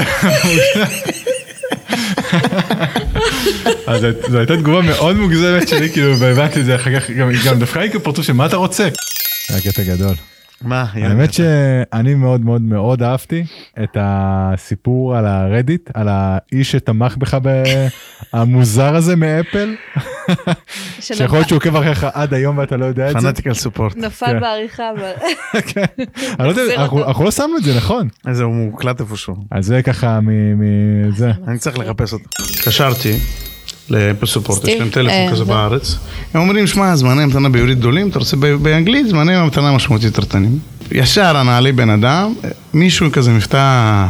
S1: אז זו הייתה תגובה מאוד מוגזמת שלי, כאילו, והבנתי את זה אחר כך, גם- גם דווקא לי כפרצוף של מה אתה רוצה? היה קטע גדול.
S2: מה,
S1: האמת שאני מאוד מאוד מאוד אהבתי את הסיפור על הרדיט, על האיש שתמך בך ב- המוזר הזה מאפל, שיכול להיות שהוא עוקב אחריך עד היום ואתה לא יודע את זה.
S2: פנאטיקל סופורט.
S6: נפל
S1: כן.
S6: בעריכה, אבל...
S1: כן. אני לא יודע,
S6: נחזיר
S1: אנחנו
S6: אותו.
S1: אנחנו לא שמנו את זה, נכון?
S2: איזה הוא מוקלט איפשהו.
S1: אז זה ככה מזה.
S2: אני צריך לחפש אותו. התקשרתי לסופורט, יש
S6: סטיב,
S2: להם טלפון
S6: אה,
S2: כזה
S6: זה.
S2: בארץ. הם אומרים, שמע, זמני המתנה בעברית גדולים, אתה רוצה ב- באנגלית, זמני המתנה משמעותית יותר קטנים. ישר ענה לי בן אדם, אה, מישהו כזה מבטא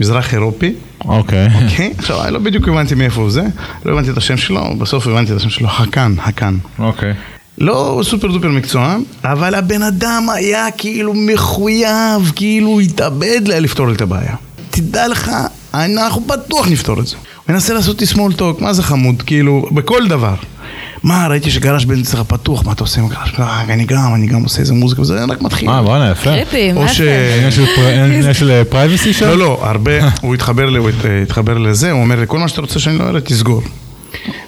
S2: מזרח אירופי,
S1: אוקיי.
S2: כן? עכשיו, אני לא בדיוק הבנתי מאיפה הוא זה, לא הבנתי את השם שלו, בסוף הבנתי את השם שלו, חכן, חכן.
S1: אוקיי.
S7: לא סופר דופר מקצוען, אבל הבן אדם היה כאילו מחויב, כאילו התאבד לה- לפתור את הבעיה. תדע לך, אנחנו בטוח נפתור את זה. הוא מנסה לעשות לי small talk, מה זה חמוד, כאילו, בכל דבר. מה, ראיתי שגרש בן אצלך פתוח, מה אתה עושה עם גרש? "אה, אני גם, אני גם עושה איזה מוזיקה, וזה רק מתחיל.
S1: אה, וואלה, יפה. אה,
S6: קריפי,
S7: או
S6: מה
S7: ש-
S6: זה?
S1: עניין של פר- עניין של פרייבסי שם?
S7: לא, לא, הרבה, הוא התחבר, ל- הוא הת- התחבר לזה, הוא אומר לי, כל מה שאתה רוצה שאני לא אראה, תסגור.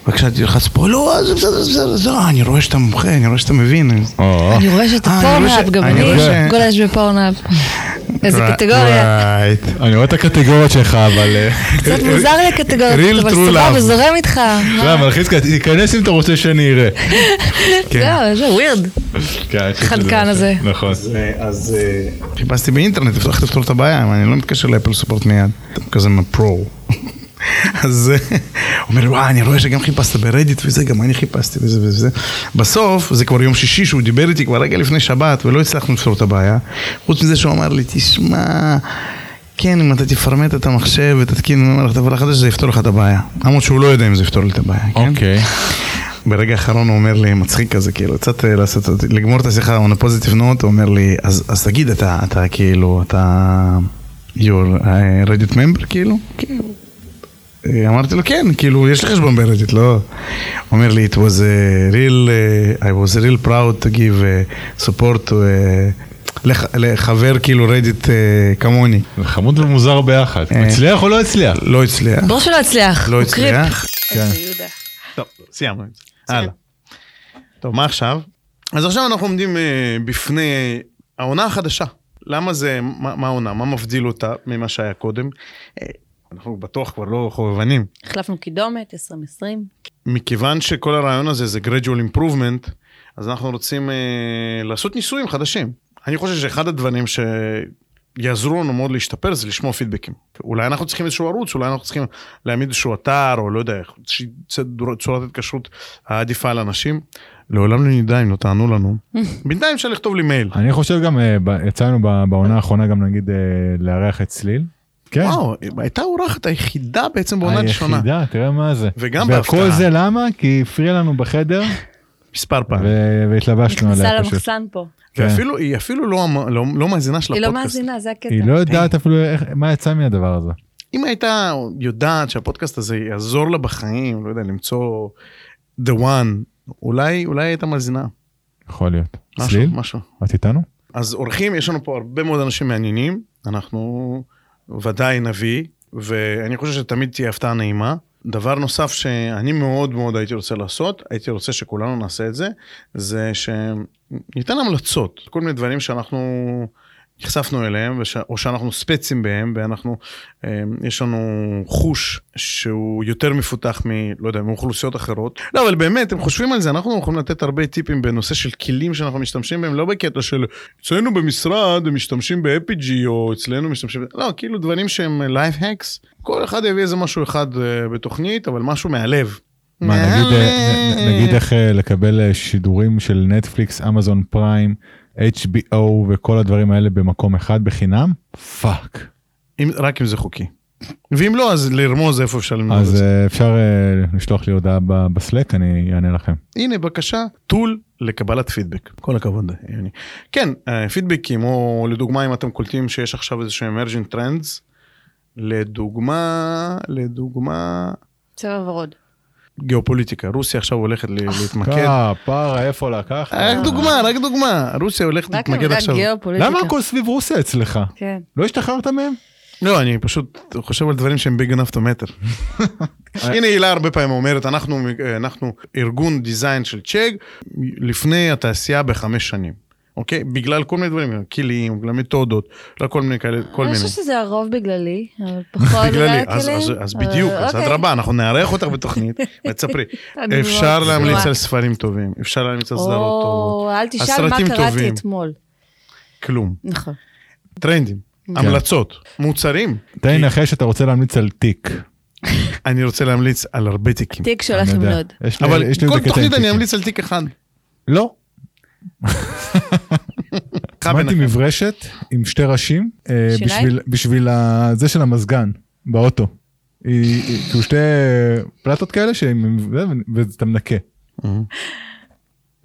S7: בבקשה, תלחץ פה, לא, זה בסדר, זה בסדר, זה לא, אני רואה שאתה מומחה, אני רואה שאתה מבין.
S1: או,
S3: אני רואה שאתה
S7: אה, אני רואה
S3: פורנאפ,
S7: ש-
S3: גם
S7: אני
S3: אני
S7: רואה ש-
S3: גולש בפורנאפ. איזה
S7: ר-
S3: קטגוריה.
S7: רייט.
S1: אני רואה את הקטגוריות שלך, אבל... אה,
S3: קצת מוזר לי
S7: Real
S3: הקטגוריות, אבל
S7: true love.
S3: סבבה, זורם איתך.
S1: לא, אבל חיזקה, תיכנס אם אתה רוצה שאני אראה.
S3: אה, זהו, איזה ווירד.
S1: כן, אני חושב שזה
S3: חנקן
S1: נכון.
S3: הזה.
S1: נכון.
S7: אז אה, חיפשתי באינטרנט, הבטחתי לפתור את הבעיה, אבל אני לא מתקשר לאפל סופורט מיד, אתם כזה מהפרו. אז אה, הוא אומר לי, וואה, אני רואה שגם חיפשת ברדיט וזה, גם אני חיפשתי וזה וזה. בסוף, זה כבר יום שישי שהוא דיבר איתי כבר רגע לפני שבת, ולא הצלחנו לפתור את הבעיה. חוץ מזה שהוא אמר לי, תשמע, כן, אם אתה תפרמט את המחשב ותתקין מערכת הפעלה חדש, זה יפתור לך את הבעיה. למרות שהוא לא יודע אם זה יפתור לי את הבעיה, כן?
S1: אוקיי.
S7: ברגע האחרון הוא אומר לי, מצחיק כזה, כאילו, קצת אה, לעשות, לגמור את השיחה, on a positive note, הוא אומר לי, אז, אז תגיד, אתה, אתה כאילו, אתה, you're a Reddit member, כאילו? כאילו. אה, אמרתי לו, כן, כאילו, יש לי חשבון ברדיט, לא? הוא אומר לי, it was a real, uh, I was real proud to give uh, support to, uh, לח, לחבר כאילו רדיט uh,
S2: אה,
S7: כמוני.
S1: זה חמוד ומוזר ביחד.
S7: אה.
S1: הצליח או לא הצליח?
S7: לא הצליח,
S3: ברור שלא הצליח.
S7: לא
S3: הוא קריפ.
S7: הצליח.
S1: כן.
S2: טוב, סיימנו את זה. הלאה. טוב, מה עכשיו? אז עכשיו אנחנו עומדים אה, בפני העונה החדשה. למה זה, מה מה העונה? מה מבדיל אותה ממה שהיה קודם? אה, אנחנו בטוח כבר לא חובבנים.
S6: החלפנו קידומת, 2020.
S2: מכיוון שכל הרעיון הזה זה gradual improvement, אז אנחנו רוצים אה, לעשות ניסויים חדשים. אני חושב שאחד הדברים שיעזרו לנו מאוד להשתפר זה לשמוע פידבקים. אולי אנחנו צריכים איזשהו ערוץ, אולי אנחנו צריכים להעמיד איזשהו אתר, או לא יודע, איזושהי צד- צורת התקשרות העדיפה לאנשים. לעולם לא נדע אם לא תענו לנו. בינתיים אפשר לכתוב לי מייל.
S1: אני חושב גם, אה, ב- יצאנו ב- בעונה האחרונה גם נגיד אה, לארח את צליל. כן.
S2: וואו, הייתה האורחת היחידה בעצם בעונה הראשונה.
S1: היחידה, תראה מה זה.
S2: וגם
S1: וכל
S2: בהפתעה.
S1: זה למה? כי היא הפריעה לנו בחדר
S2: מספר פעמים.
S1: ו- והתלבשנו
S6: נכנסה
S1: עליה פשוט.
S6: למחסן פה.
S1: כן.
S2: ואפילו, היא אפילו לא אמ- לא לא מאזינה של
S6: היא לא
S2: הפודקאסט.
S6: מאזינה, זה הקטע.
S1: היא לא יודעת אפילו איך- מה יצא מהדבר הזה.
S2: אם הייתה יודעת שהפודקאסט הזה יעזור לה בחיים, לא יודע, למצוא the one, אולי, אולי הייתה מאזינה.
S1: יכול להיות.
S2: משהו,
S1: צליל,
S2: משהו.
S1: את איתנו?
S2: אז אורחים, יש לנו פה הרבה מאוד אנשים מעניינים, אנחנו ודאי נביא, ואני חושב שתמיד תהיה הפתעה נעימה. דבר נוסף שאני מאוד מאוד הייתי רוצה לעשות, הייתי רוצה שכולנו נעשה את זה, זה שניתן המלצות, כל מיני דברים שאנחנו נחשפנו אליהם, וש... או שאנחנו ספצים בהם, ואנחנו, אה, יש לנו חוש שהוא יותר מפותח מ... לא יודע, מאוכלוסיות אחרות. לא, אבל באמת, הם חושבים על זה, אנחנו יכולים לתת הרבה טיפים בנושא של כלים שאנחנו משתמשים בהם, לא בקטע של אצלנו במשרד הם משתמשים ב-APG, או אצלנו משתמשים... ב-" לא, כאילו דברים שהם לייף הקס. כל אחד יביא איזה משהו אחד אה, בתוכנית, אבל משהו מהלב.
S1: מה, נגיד, אה,
S2: מהלב.
S1: נ- נגיד איך אה, לקבל אה, שידורים של נטפליקס, אמזון פריים, HBO וכל הדברים האלה במקום אחד בחינם? פאק.
S2: אם, רק אם זה חוקי. ואם לא, אז לרמוז איפה אפשר ללמוד את
S1: אז
S2: זה.
S1: אה, אפשר אה, לשלוח לי הודעה ב- בסלק, אני אענה לכם.
S2: הנה, בבקשה, טול לקבלת פידבק. כל הכבוד, יוני. כן, אה, פידבקים, או לדוגמה, אם אתם קולטים שיש עכשיו איזה שהם emerging trends, לדוגמה, לדוגמה,
S6: צבע ורוד.
S2: גיאופוליטיקה. רוסיה עכשיו הולכת ל- להתמקד.
S1: כפרה, אה, איפה לקחת?
S2: רק דוגמה, רק דוגמה. רוסיה הולכת
S6: רק
S2: להתמקד
S6: עמדה
S2: עכשיו.
S3: אה,
S6: גיאופוליטיקה.
S1: למה הכל סביב רוסיה אצלך?
S6: כן.
S1: לא השתחררת מהם?
S2: לא, אני פשוט חושב על דברים שהם big enough to matter. הנה הילה הרבה פעמים אומרת, אנחנו, אנחנו ארגון דיזיין של צ'ג לפני התעשייה בחמש שנים, אוקיי? בגלל כל מיני דברים, כלים, בגלל מתודות, לא כל מיני כאלה, כל
S3: אני
S2: מיני.
S3: חושבת שזה הרוב בגללי, אבל פחות אה,
S2: בגללי,
S3: בגללי.
S2: אז, אז, אז בדיוק, אז
S3: אוקיי.
S2: אדרבה, אנחנו נארח אותך בתוכנית, ותספרי.
S3: אני
S2: אפשר
S3: מאוד
S2: להמליץ
S3: צנועה.
S2: על ספרים טובים, אפשר להמליץ על סדרות טובות,
S3: או, אל תשאל מה
S2: לא הסרטים
S3: קראתי
S2: טובים.
S3: אתמול.
S2: כלום.
S6: נכון.
S2: טרנדים, המלצות, מוצרים.
S1: תן לי לנחש שאתה רוצה להמליץ על תיק.
S2: אני רוצה להמליץ על הרבה תיקים.
S6: תיק שהולך
S1: אני לא יודע.
S6: למנוד.
S1: יש לי-
S2: אבל
S1: אה, יש לי איזה
S2: כל
S1: קטע עם
S2: תוכנית אני
S1: תיקים.
S2: אמליץ על תיק אחד.
S1: לא. הזמנתי
S2: ביניכם.
S1: מברשת עם שתי ראשים אה,
S6: שיניים?
S1: בשביל- בשביל ה- זה של המזגן באוטו. היא- היא- כאילו שתי פלטות כאלה שהם- ואתה מנקה.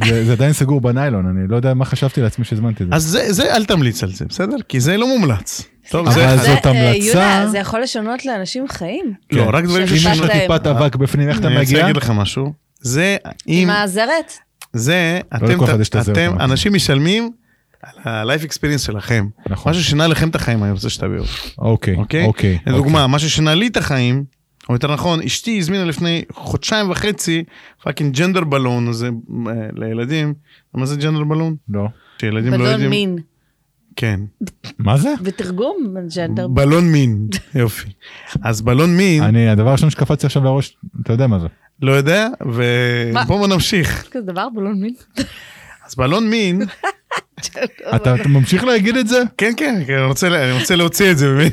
S1: זה זה עדיין סגור בניילון, אני לא יודע מה חשבתי לעצמי שהזמנתי את זה.
S2: אז זה, זה, אל תמליץ על זה, בסדר? כי זה לא מומלץ. טוב, זה...
S1: אבל
S2: אחד.
S1: זאת
S3: אה,
S1: המלצה.
S3: יונה, זה יכול לשנות לאנשים חיים.
S2: לא, רק דברים
S3: שזה
S1: כן. אם יש
S3: פת
S1: לך
S3: להם.
S1: טיפת אבק בפנים, איך אתה
S2: אני רוצה
S1: מגיע?
S2: להגיד לך משהו. זה, אם...
S3: עם הזרת?
S2: זה, אתם,
S1: לא לכל אחד יש את הזהות
S2: אתם
S1: המתאימה.
S2: אנשים משלמים על ה-life experience שלכם.
S1: נכון.
S2: משהו ששינה לכם את החיים, אני רוצה שתביאו,
S1: אוקיי,
S2: אוקיי?
S1: אוקיי.
S2: לדוגמה, משהו ששינה לי את החיים, או יותר נכון, אשתי הזמינה לפני חודשיים וחצי פאקינג ג'נדר בלון הזה אה, לילדים. מה זה ג'נדר בלון?
S1: לא.
S2: שילדים לא
S3: בלון
S2: יודעים...
S3: מין.
S2: כן.
S1: מה זה?
S3: בתרגום ג'נדר.
S2: בלון מין. יופי. אז בלון מין,
S1: אני, הדבר הראשון שקפץ לי עכשיו לראש, אתה יודע מה זה.
S2: לא יודע,
S3: מה?
S2: ובואו נמשיך.
S3: יש כזה דבר בלון מין?
S2: אז בלון מין,
S1: אתה אתה ממשיך להגיד את זה?
S2: כן, כן, כן, אני רוצה לה- אני רוצה להוציא את זה ממני.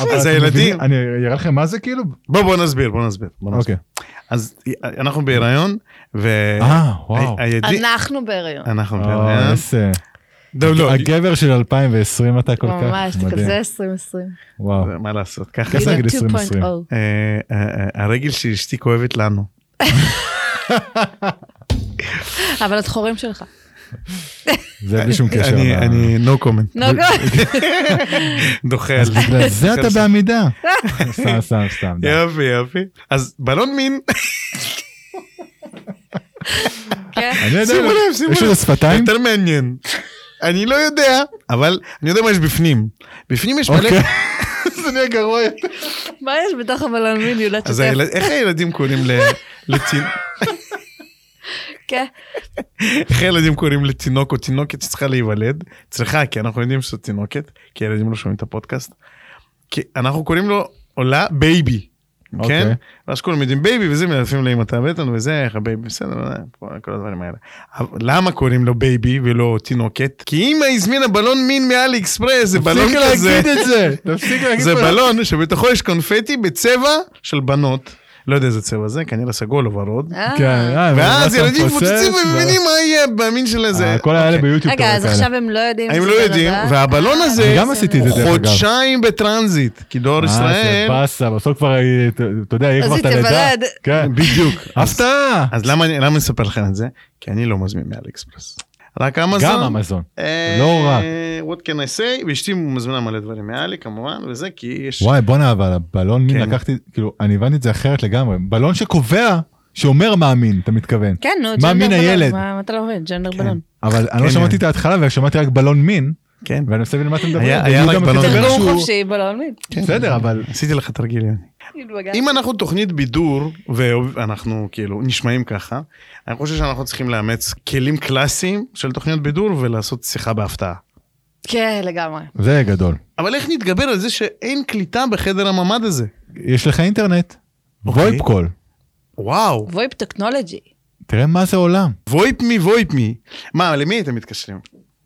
S1: אבל
S2: אז
S1: אתם
S2: הילדים,
S1: מבינים? אני אראה לכם מה זה כאילו?
S2: בוא בוא נסביר, בוא נסביר. בוא
S1: אוקיי.
S2: נסביר. אז אנחנו בהיריון, ו...
S1: אה, וואו.
S2: ה- הידי-
S3: אנחנו בהיריון.
S2: אנחנו
S1: אה,
S2: בהיריון.
S1: איזה-
S2: לא, לא,
S1: הגבר של 2020 אתה כל כך
S3: ממש,
S1: מדהים.
S3: כזה 2020.
S1: וואו.
S2: מה לעשות, ככה.
S1: כזה
S3: הנה,
S1: גיל 2020.
S3: 2.0.
S2: אה, אה, אה, הרגל של אשתי כואבת לנו.
S3: oh. אבל את חורים שלך.
S1: זה בלי שום קשר.
S2: אני,
S1: אבל-
S2: אני, no comment.
S3: נו, גוד.
S2: דוחה על
S1: אז
S2: זה.
S1: בגלל זה אתה בעמידה. סתם, סתם, סתם. די.
S2: יופי, יופי. אז בלון מין,
S3: כן.
S1: אני לא יודע,
S2: שימו לב, שימו
S1: יש
S2: לב.
S1: לזה שפתיים?
S2: יותר מעניין. אני לא יודע, אבל אני יודע מה יש בפנים. בפנים יש מלא...
S1: אוקיי.
S2: זה נהיה גרוע יותר.
S3: מה יש בתוך הבלון מין, יונה?
S2: אז
S3: תשתף.
S2: הילד- איך הילדים קוראים ל- לתינוק?
S3: כן.
S2: איך הילדים קוראים לתינוק או תינוקת שצריכה להיוולד? צריכה, כי אנחנו יודעים שזו תינוקת, כי הילדים לא שומעים את הפודקאסט. כי אנחנו קוראים לו עולה בייבי, כן?
S1: אוקיי.
S2: ואז כולם יודעים בייבי וזה מלפים לה אם אתה בטן וזה, איך הבייבי, בסדר, אה, כל- כל הדברים האלה. אבל למה קוראים לו בייבי ולא תינוקת? כי אמא הזמינה בלון מין מאלי אקספרס, זה בלון
S1: תפסיק
S2: כזה.
S1: להגיד את זה. תפסיק להגיד
S2: זה
S1: את
S2: בלון שבתוכו יש קונפטי בצבע של בנות. לא יודע איזה צבע זה, כנראה סגול או ורוד.
S3: אה.
S1: כן, אה, אבל
S2: ואז
S1: אתה
S2: ילדים
S1: מפוצץ,
S2: מפוצצים
S1: ו-
S2: ומבינים מה יהיה במין של אוקיי. הזה.
S1: אה, כל האלה ביוטיוב.
S3: רגע,
S1: אתה
S3: אז
S1: רואה כאלה.
S3: עכשיו הם לא יודעים.
S2: הם
S3: שזה
S2: לא
S3: בלון
S2: יודעים,
S3: הבא?
S2: והבלון הזה,
S1: גם עשיתי את זה, דרך אגב.
S2: חודשיים בטרנזיט, כי דואר ישראל,
S1: אה, זה באסה, בסוף כבר, אה, אתה- אתה יודע, יהיה
S3: אז
S1: כבר
S3: היא
S1: את הלידה.
S3: תיוולד.
S1: כן.
S2: בדיוק. אז-
S1: הפתעה!
S2: אז למה אני למה אני אספר לכם את זה? כי אני לא מזמין מאלי אקספרס. רק אמזון.
S1: גם אמזון.
S2: אה,
S1: לא רק.
S2: What can I say? ואשתי מזמינה מלא דברים מאלי כמובן, וזה כי יש...
S1: וואי, בואנה, אבל הבלון מין
S2: כן.
S1: לקחתי, כאילו, אני הבנתי את זה אחרת לגמרי. בלון שקובע, שאומר מה מין, אתה מתכוון.
S3: כן, נו,
S1: מה
S3: ג'נדר
S1: מין
S3: בלון.
S1: הילד?
S3: מה מה אתה לא מבין? ג'נדר בלון.
S1: אבל אני לא
S2: כן,
S1: שמעתי
S2: כן.
S1: את ההתחלה ושמעתי רק בלון מין,
S2: כן.
S1: ואני מנסה להבין על מה אתם מדברים.
S2: היה-
S1: והוא
S2: היה
S1: גם
S2: רק
S1: מתכוון
S2: בלון מין.
S1: שהוא-
S3: תרגום חופשי, בלון מין.
S1: בסדר, אבל...
S2: כן. עשיתי לך תרגיל. יוני. אם אנחנו תוכנית בידור, ואנחנו כאילו נשמעים ככה, אני חושב שאנחנו צריכים לאמץ כלים קלאסיים של תוכניות בידור ולעשות שיחה בהפתעה.
S3: כן, לגמרי.
S1: זה גדול.
S2: אבל איך נתגבר על זה שאין קליטה בחדר הממ"ד הזה?
S1: יש לך אינטרנט,
S2: אוקיי.
S1: וויפ קול.
S2: וואו,
S3: וויפ טכנולוגי.
S1: תראה מה זה עולם.
S2: וויפ מי וויפ מי. מה, למי אתם מתקשרים?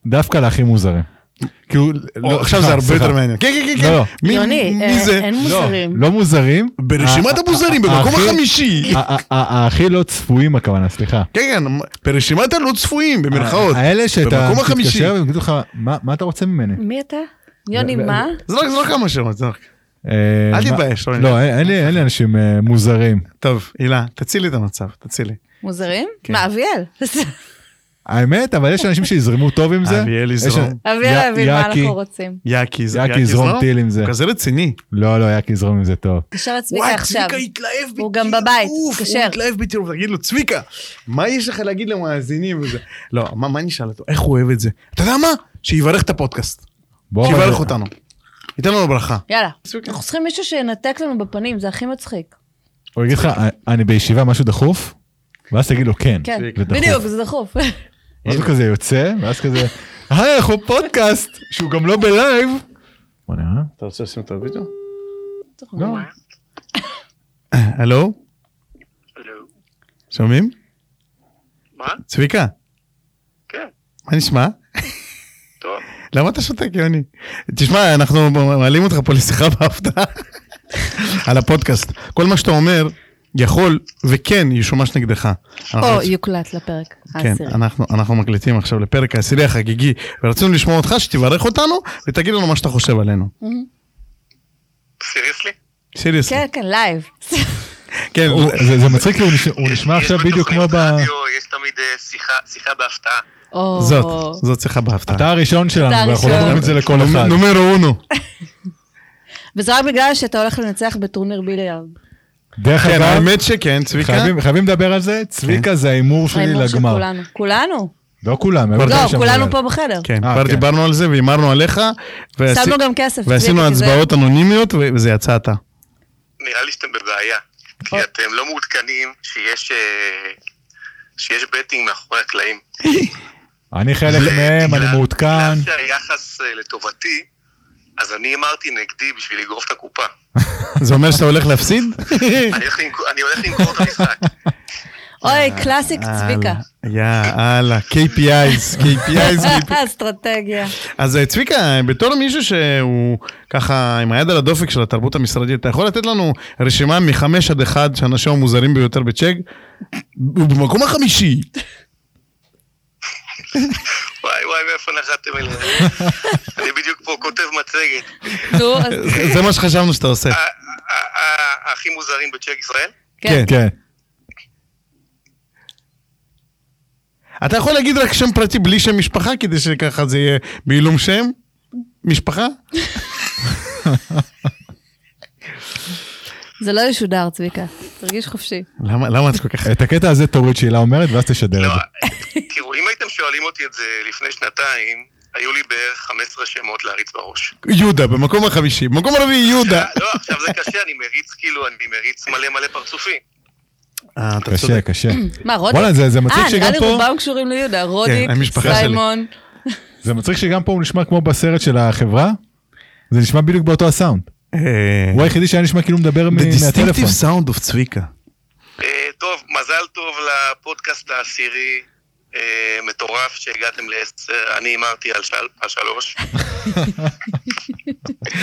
S1: דווקא להכי מוזרים. כאילו,
S2: לא,
S1: לא, סליחה,
S2: עכשיו זה הרבה
S1: סליחה.
S2: יותר מעניין. כן, כן, כן,
S1: לא, לא.
S2: כן. מי-
S3: יוני,
S2: מי
S3: אה,
S2: זה?
S3: אין
S1: לא, אה,
S3: מוזרים.
S1: לא מוזרים.
S2: ברשימת הבוזרים, במקום
S1: הכי-
S2: החמישי.
S1: ה- ה- ה- הכי לא צפויים הכוונה, סליחה.
S2: כן, כן, ברשימת הלא צפויים, במרכאות.
S1: האלה שאתה
S2: במקום החמישי.
S1: מתקשר והם יגידו לך, "מה- מה אתה רוצה ממני?
S3: מי אתה? יוני, מה?
S2: זרוק, זרוק כמה שמות, זרוק.
S1: אה,
S2: אל
S1: מה-
S2: תתבייש, רוני.
S1: לא, אין- אין לי- אין לי אנשים אה, מוזרים.
S2: טוב, הילה, תצילי את המצב, תצילי.
S3: מוזרים? מה, אביאל?
S1: האמת, אבל יש אנשים שיזרמו טוב עם זה.
S2: אביאל
S1: יש-
S2: יזרום.
S1: י-
S3: אביאל הבין מה
S1: יאקי.
S3: אנחנו רוצים.
S2: יאקי, ז-
S1: יאקי יזרום טיל עם זה.
S2: הוא לא? כזה רציני.
S1: לא, לא, יאקי יזרום עם זה טוב.
S3: תתקשר לצביקה עכשיו.
S2: התלהב
S3: הוא גם בבית, תתקשר.
S2: הוא התלהב בטירוף, תגיד לו, צביקה, מה יש לך להגיד למאזינים וזה? לא, מה מה נשאל אותו? איך הוא אוהב את זה? אתה יודע מה? שיברך את הפודקאסט.
S1: בוא, אבל-
S2: שיברך אותנו. ייתן לנו ברכה.
S3: יאללה.
S2: צביקה.
S3: אנחנו צריכים מישהו שינתק לנו בפנים, זה הכי מצחיק.
S1: הוא יגיד לך, אני בישיבה, משהו דחוף? ואז תגיד לו, כן.
S3: כן,
S1: זה דחוף.
S3: בדיוק, זה דחוף.
S1: ואז הוא כזה יוצא, ואז כזה, היי, אנחנו פודקאסט, שהוא גם לא בלייב. בוא'נה, אה?
S2: אתה רוצה לשים את הווידאו? הלו?
S8: הלו,
S2: שומעים?
S8: מה?
S2: צביקה,
S8: כן,
S2: מה נשמע?
S8: טוב.
S2: למה אתה שותק, יוני? תשמע, אנחנו מעלים אותך פה לשיחה בהפתעה על הפודקאסט. כל מה שאתה אומר יכול וכן ישומש נגדך. אנחנו
S3: או יוקלט לפרק
S2: כן,
S3: העשירי.
S2: אנחנו, אנחנו מקליטים עכשיו לפרק העשירי החגיגי, ורצינו לשמוע אותך, שתברך אותנו, ותגיד לנו מה שאתה חושב עלינו.
S8: סיריוסלי?
S2: סיריוס.
S3: כן, כן, לייב.
S2: כן,
S1: הוא- זה- זה מצחיק, כי הוא נשמע- הוא נשמע
S8: יש
S1: עכשיו בדיוק כמו
S8: בתוכניות
S1: ב...
S8: רדיו, יש תמיד אה,
S9: שיחה- שיחה בהפתעה.
S3: או...
S2: זאת, זאת שיחה בהפתעה.
S1: אתה הראשון שלנו,
S3: אתה
S1: ואנחנו לא
S3: הראשון.
S1: אומרים את זה לכל אחד.
S2: נומרו אונו.
S3: וזה רק בגלל שאתה הולך לנצח בטורניר ביליארד.
S1: דרך
S2: כן,
S1: אגב,
S2: האמת שכן, צביקה.
S1: חייבים- חייבים לדבר על זה, צביקה זה ההימור שלי
S3: ההימור של
S1: לגמר.
S3: כולנו. כולנו?
S1: לא כולם, הם
S3: לא,
S1: שם
S3: כולנו
S1: ביד.
S3: פה בחדר.
S2: כן,
S1: אה,
S2: כבר
S1: כן.
S2: דיברנו על זה והימרנו עליך. ועשי-
S3: שמנו גם כסף.
S2: ועשינו
S3: צביקה, כי זה-
S2: הצבעות אנונימיות ו- וזה יצא אתה.
S9: נראה לי שאתם בבעיה,
S1: אוקיי.
S9: כי אתם לא מעודכנים שיש אה, שיש בטינג מאחורי הקלעים.
S1: אני חלק מהם, אני
S9: בגלל-
S1: מעודכן.
S3: כן.
S9: בגלל שהיחס אה, לטובתי, אז אני אמרתי נגדי בשביל לגרוף את הקופה.
S2: זה אומר שאתה הולך להפסיד?
S9: אני הולך למכור- אני הולך למכור את המשחק.
S3: אוי, קלאסיק צביקה.
S2: יאללה, KPIs, KPIs.
S3: אסטרטגיה.
S2: אז אה, צביקה, בתור מישהו שהוא ככה עם היד על הדופק של התרבות המשרדית, אתה יכול לתת לנו רשימה מחמש עד אחד שאנשים המוזרים ביותר בצ'ק? הוא במקום החמישי.
S9: וואי וואי, מאיפה נחתתם אליי? אני בדיוק פה כותב מצגת.
S3: נו, אז
S2: זה- זה מה שחשבנו שאתה עושה.
S9: ה- ה- ה- אה, הכי מוזרים בצ'ק ישראל?
S2: כן.
S1: כן.
S2: אתה יכול להגיד רק שם פרטי בלי שם משפחה, כדי שככה זה יהיה בעילום שם? משפחה?
S3: זה לא ישודר, צביקה. תרגיש חופשי.
S2: למה למה את כל כך...
S1: את הקטע הזה תוריד שהילה אומרת, ואז תשדר את
S9: לא,
S1: זה.
S9: תראו, אם הייתם שואלים אותי את זה לפני שנתיים, היו לי בערך 15 שמות להריץ בראש.
S2: יהודה, במקום החמישי. במקום הרביעי, יהודה.
S9: לא, עכשיו זה קשה, אני מריץ כאילו, אני מריץ מלא מלא פרצופים.
S2: אה, אתה
S1: קשה, קשה.
S3: מה, רודי?
S1: וואלה, זה זה מצחיק
S3: אה,
S1: שגם
S3: נראה לי
S1: פה,
S3: רובם קשורים ליהודה. רודיק,
S2: כן, המשפחה שלי.
S3: סיימון.
S1: זה מצחיק שגם פה הוא נשמע כמו בסרט של החברה, זה נשמע בדיוק באותו הסאונד.
S2: אה,
S1: הוא היחידי שהיה נשמע כאילו מדבר מ-
S2: The
S1: מהטלפון.
S2: distinctive sound of צביקה.
S9: אה, טוב, מזל טוב לפודקאסט העשירי. אה, מטורף שהגעתם לעשר, אני הימרתי על של- השלוש.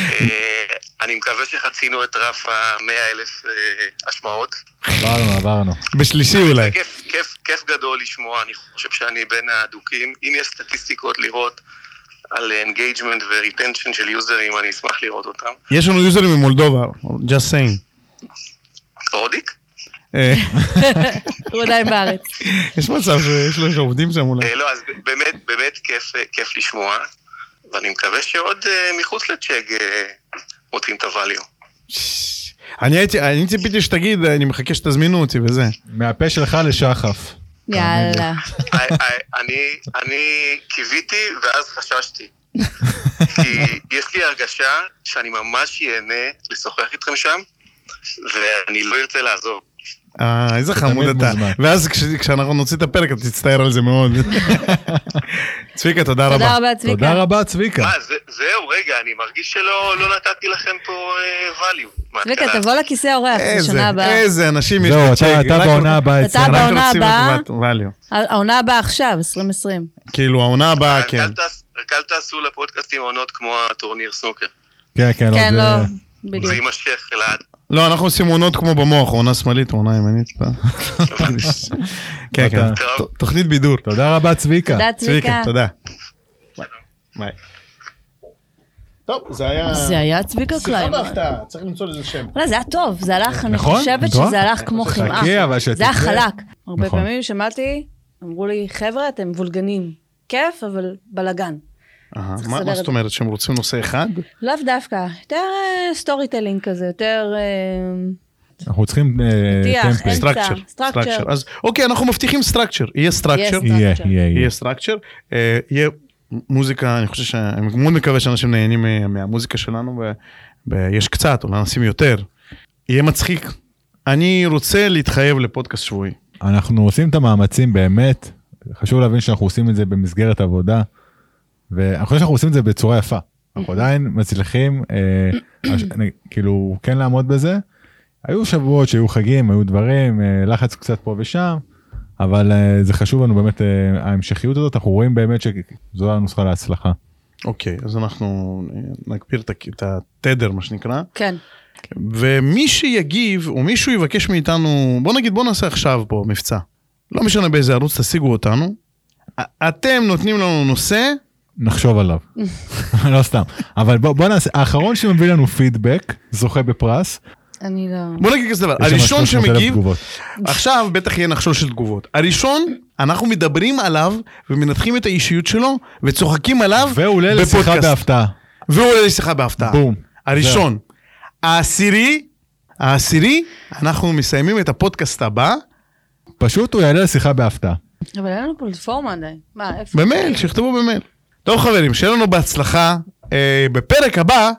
S9: אה, אני מקווה שחצינו את רף המאה אלף אה, השמעות.
S1: עברנו, עברנו.
S2: בשלישי אולי.
S9: כיף, כיף, כיף גדול לשמוע, אני חושב שאני בין האדוקים. אם יש סטטיסטיקות לראות על אינגייג'מנט וריטנשן של יוזרים, אני אשמח לראות אותם.
S2: יש לנו יוזרים ממולדובה, just saying.
S9: רודיק?
S2: אה,
S3: הוא עדיין בארץ.
S2: יש מצב שיש לו שעובדים שם אולי.
S9: אה, לא, אז באמת, באמת כיף, אה, כיף לשמוע, ואני מקווה שעוד אה, מחוץ לצ'ג אה, מוצאים את הvalue.
S2: אני הייתי, אני ציפיתי שתגיד, אני מחכה שתזמינו אותי וזה.
S1: מהפה שלך לשחף.
S3: יאללה.
S9: אה, אה, אני, אני קיוויתי ואז חששתי. כי יש לי הרגשה שאני ממש ייהנה לשוחח איתכם שם, ואני לא ארצה לעזוב.
S2: אה, איזה
S1: אתה
S2: חמוד
S1: תמיד
S2: אתה.
S1: מוזמן.
S2: ואז כש- כשאנחנו נוציא את הפרק, אתה תצטער על זה מאוד. צביקה, תודה רבה.
S3: תודה רבה, צביקה.
S1: תודה רבה, צביקה.
S9: מה, זה, זהו, רגע, אני מרגיש שלא לא נתתי לכם פה אה, value.
S3: צביקה,
S9: מההתחלה.
S3: תבוא לכיסא האורח בשנה
S2: איזה,
S3: הבאה.
S2: איזה אנשים יש
S1: זהו,
S2: בצ'ק,
S1: אתה- אתה
S2: רק לא- רוצים-
S1: בעונה הבאה
S3: אתה
S1: אצלנו.
S3: בעונה
S2: רק רוצים
S3: הבאה.
S2: את value.
S3: העונה הבאה עכשיו, 2020.
S2: כאילו, העונה הבאה,
S9: רק
S2: כן.
S9: אל תעש- רק אל תעשו לפודקאסטים עונות כמו הטורניר סנוקר.
S1: כן, כן,
S3: כן,
S1: עוד, אה,
S3: לא,
S9: זה
S3: בדיוק.
S9: יימשך לעד.
S2: לא, אנחנו עושים עונות כמו במוח, עונה שמאלית, עונה ימנית. אתה- כן, כן.
S1: אתה-
S2: ת- תוכנית בידור.
S1: תודה רבה, צביקה.
S3: תודה, צביקה.
S2: תודה. ביי. טוב, זה היה...
S3: זה היה צביקה קליימן.
S2: בהפתעה, צריך למצוא לזה שם.
S3: וואלה, זה היה טוב, זה הלך, אני
S1: נכון?
S3: חושבת
S1: נכון?
S3: שזה הלך כמו חמאה.
S1: חכי, אבל
S3: זה היה
S1: שתצא.
S3: חלק. הרבה
S1: נכון.
S3: פעמים שמעתי, אמרו לי, חבר'ה, אתם וולגנים. כיף, אבל בלאגן.
S2: מה
S3: צריך
S2: מה
S3: לסדר
S2: זאת
S3: את-
S2: אומרת, שהם רוצים נושא אחד?
S3: לאו דווקא, יותר סטורי טלינג כזה, יותר אה,
S1: אנחנו צריכים אה,
S3: פתיח,
S1: טמפלייט.
S3: אין-
S2: סטרקצ'ר.
S3: structure.
S2: אז אוקיי, אנחנו מבטיחים סטרקצ'ר. יהיה סטרקצ'ר,
S3: Yes.
S1: יהיה,
S3: structure.
S1: יהיה, יהיה.
S2: יהיה סטרקצ'ר, יהיה מוזיקה, אני חושב ש... אני מאוד מקווה שאנשים נהנים מה- מהמוזיקה שלנו, ו- ויש קצת, אולי נשים יותר. יהיה מצחיק. אני רוצה להתחייב לפודקאסט שבועי.
S1: אנחנו עושים את המאמצים באמת, חשוב להבין שאנחנו עושים את זה במסגרת עבודה, ואני חושב שאנחנו עושים את זה בצורה יפה. אנחנו עדיין מצליחים, אה, הש- אני- כאילו, כן לעמוד בזה. היו שבועות שהיו חגים, היו דברים, אה, לחץ קצת פה ושם, אבל אה, זה חשוב לנו באמת, אה, ההמשכיות הזאת, אנחנו רואים באמת שזו הנוסחה להצלחה.
S2: אוקיי, אז אנחנו אה, נגביר את הק- את התדר, מה שנקרא.
S3: כן.
S2: ומי שיגיב, או מישהו יבקש מאיתנו, בוא נגיד, בוא נעשה עכשיו פה מבצע. לא משנה באיזה ערוץ תשיגו אותנו. א- אתם נותנים לנו נושא,
S1: נחשוב עליו. לא סתם. אבל בוא, בוא נעשה, האחרון שמביא לנו פידבק, זוכה בפרס.
S3: אני לא...
S2: בוא נגיד כזה דבר,
S1: יש שם
S2: הראשון
S1: 300,000
S2: שמגיב,
S1: תגובות.
S2: עכשיו בטח יהיה נחשול של תגובות. הראשון
S7: אנחנו מדברים עליו ומנתחים את האישיות שלו וצוחקים עליו
S1: והוא עולה לשיחה
S7: בפודקאסט.
S1: בהפתעה.
S7: והוא עולה לשיחה בהפתעה.
S1: בום.
S7: הראשון. העשירי, העשירי, אנחנו מסיימים את הפודקאסט הבא
S1: פשוט הוא יעלה לשיחה בהפתעה.
S6: אבל אין לנו פלטפורמה עדיין. מה, איפה?
S7: במייל, שיכתבו במייל. טוב חברים, שיהיה לנו בהצלחה. אה, בפרק הבא...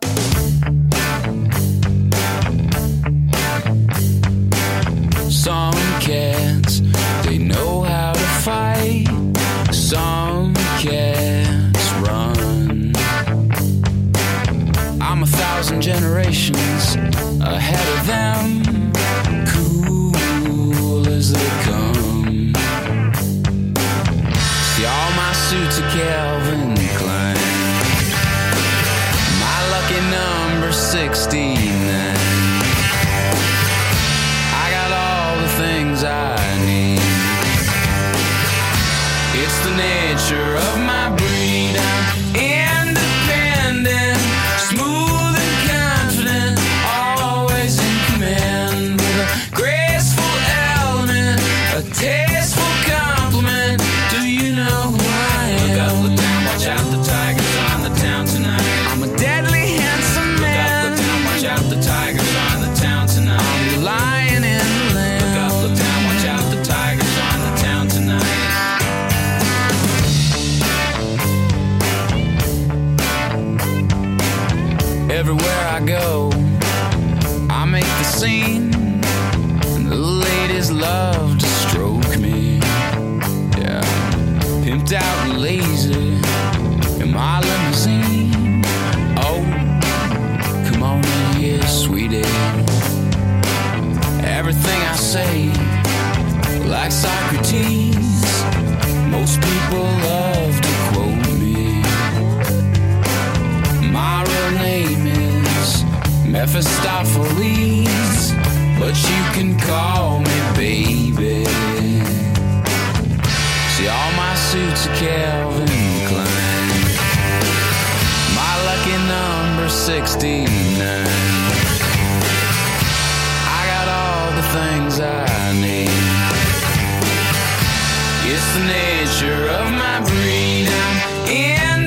S4: Some cats, they know how to fight. Some cats run. I'm a thousand generations ahead of them. Cool as they come. See, all my suits are Calvin Klein. My lucky number 69. I got all the things I need. It's the nature of my breed. I'm independent, smooth and confident, always in command. With a graceful element, a tasteful compliment. Do you know who I am? Look out, look down, watch out the tigers on the town tonight. I'm a deadly handsome man. Look out, look down, watch out the tigers on the town tonight. I'm the lion in the lamb. Look out, look down, watch out the tigers on the town tonight. Everywhere I go, I make the scene. And the ladies love to stroke me. Yeah. Pimped out and lazy in my limousine. Oh, come on in here, sweetie. Everything I say, like Socrates, most people love to quote me. My real name is Mephistopheles, but you can call me baby. See, all my suits are Calvin Klein. My lucky number 69. I got all the things I need. It's the nature of my breed. I'm in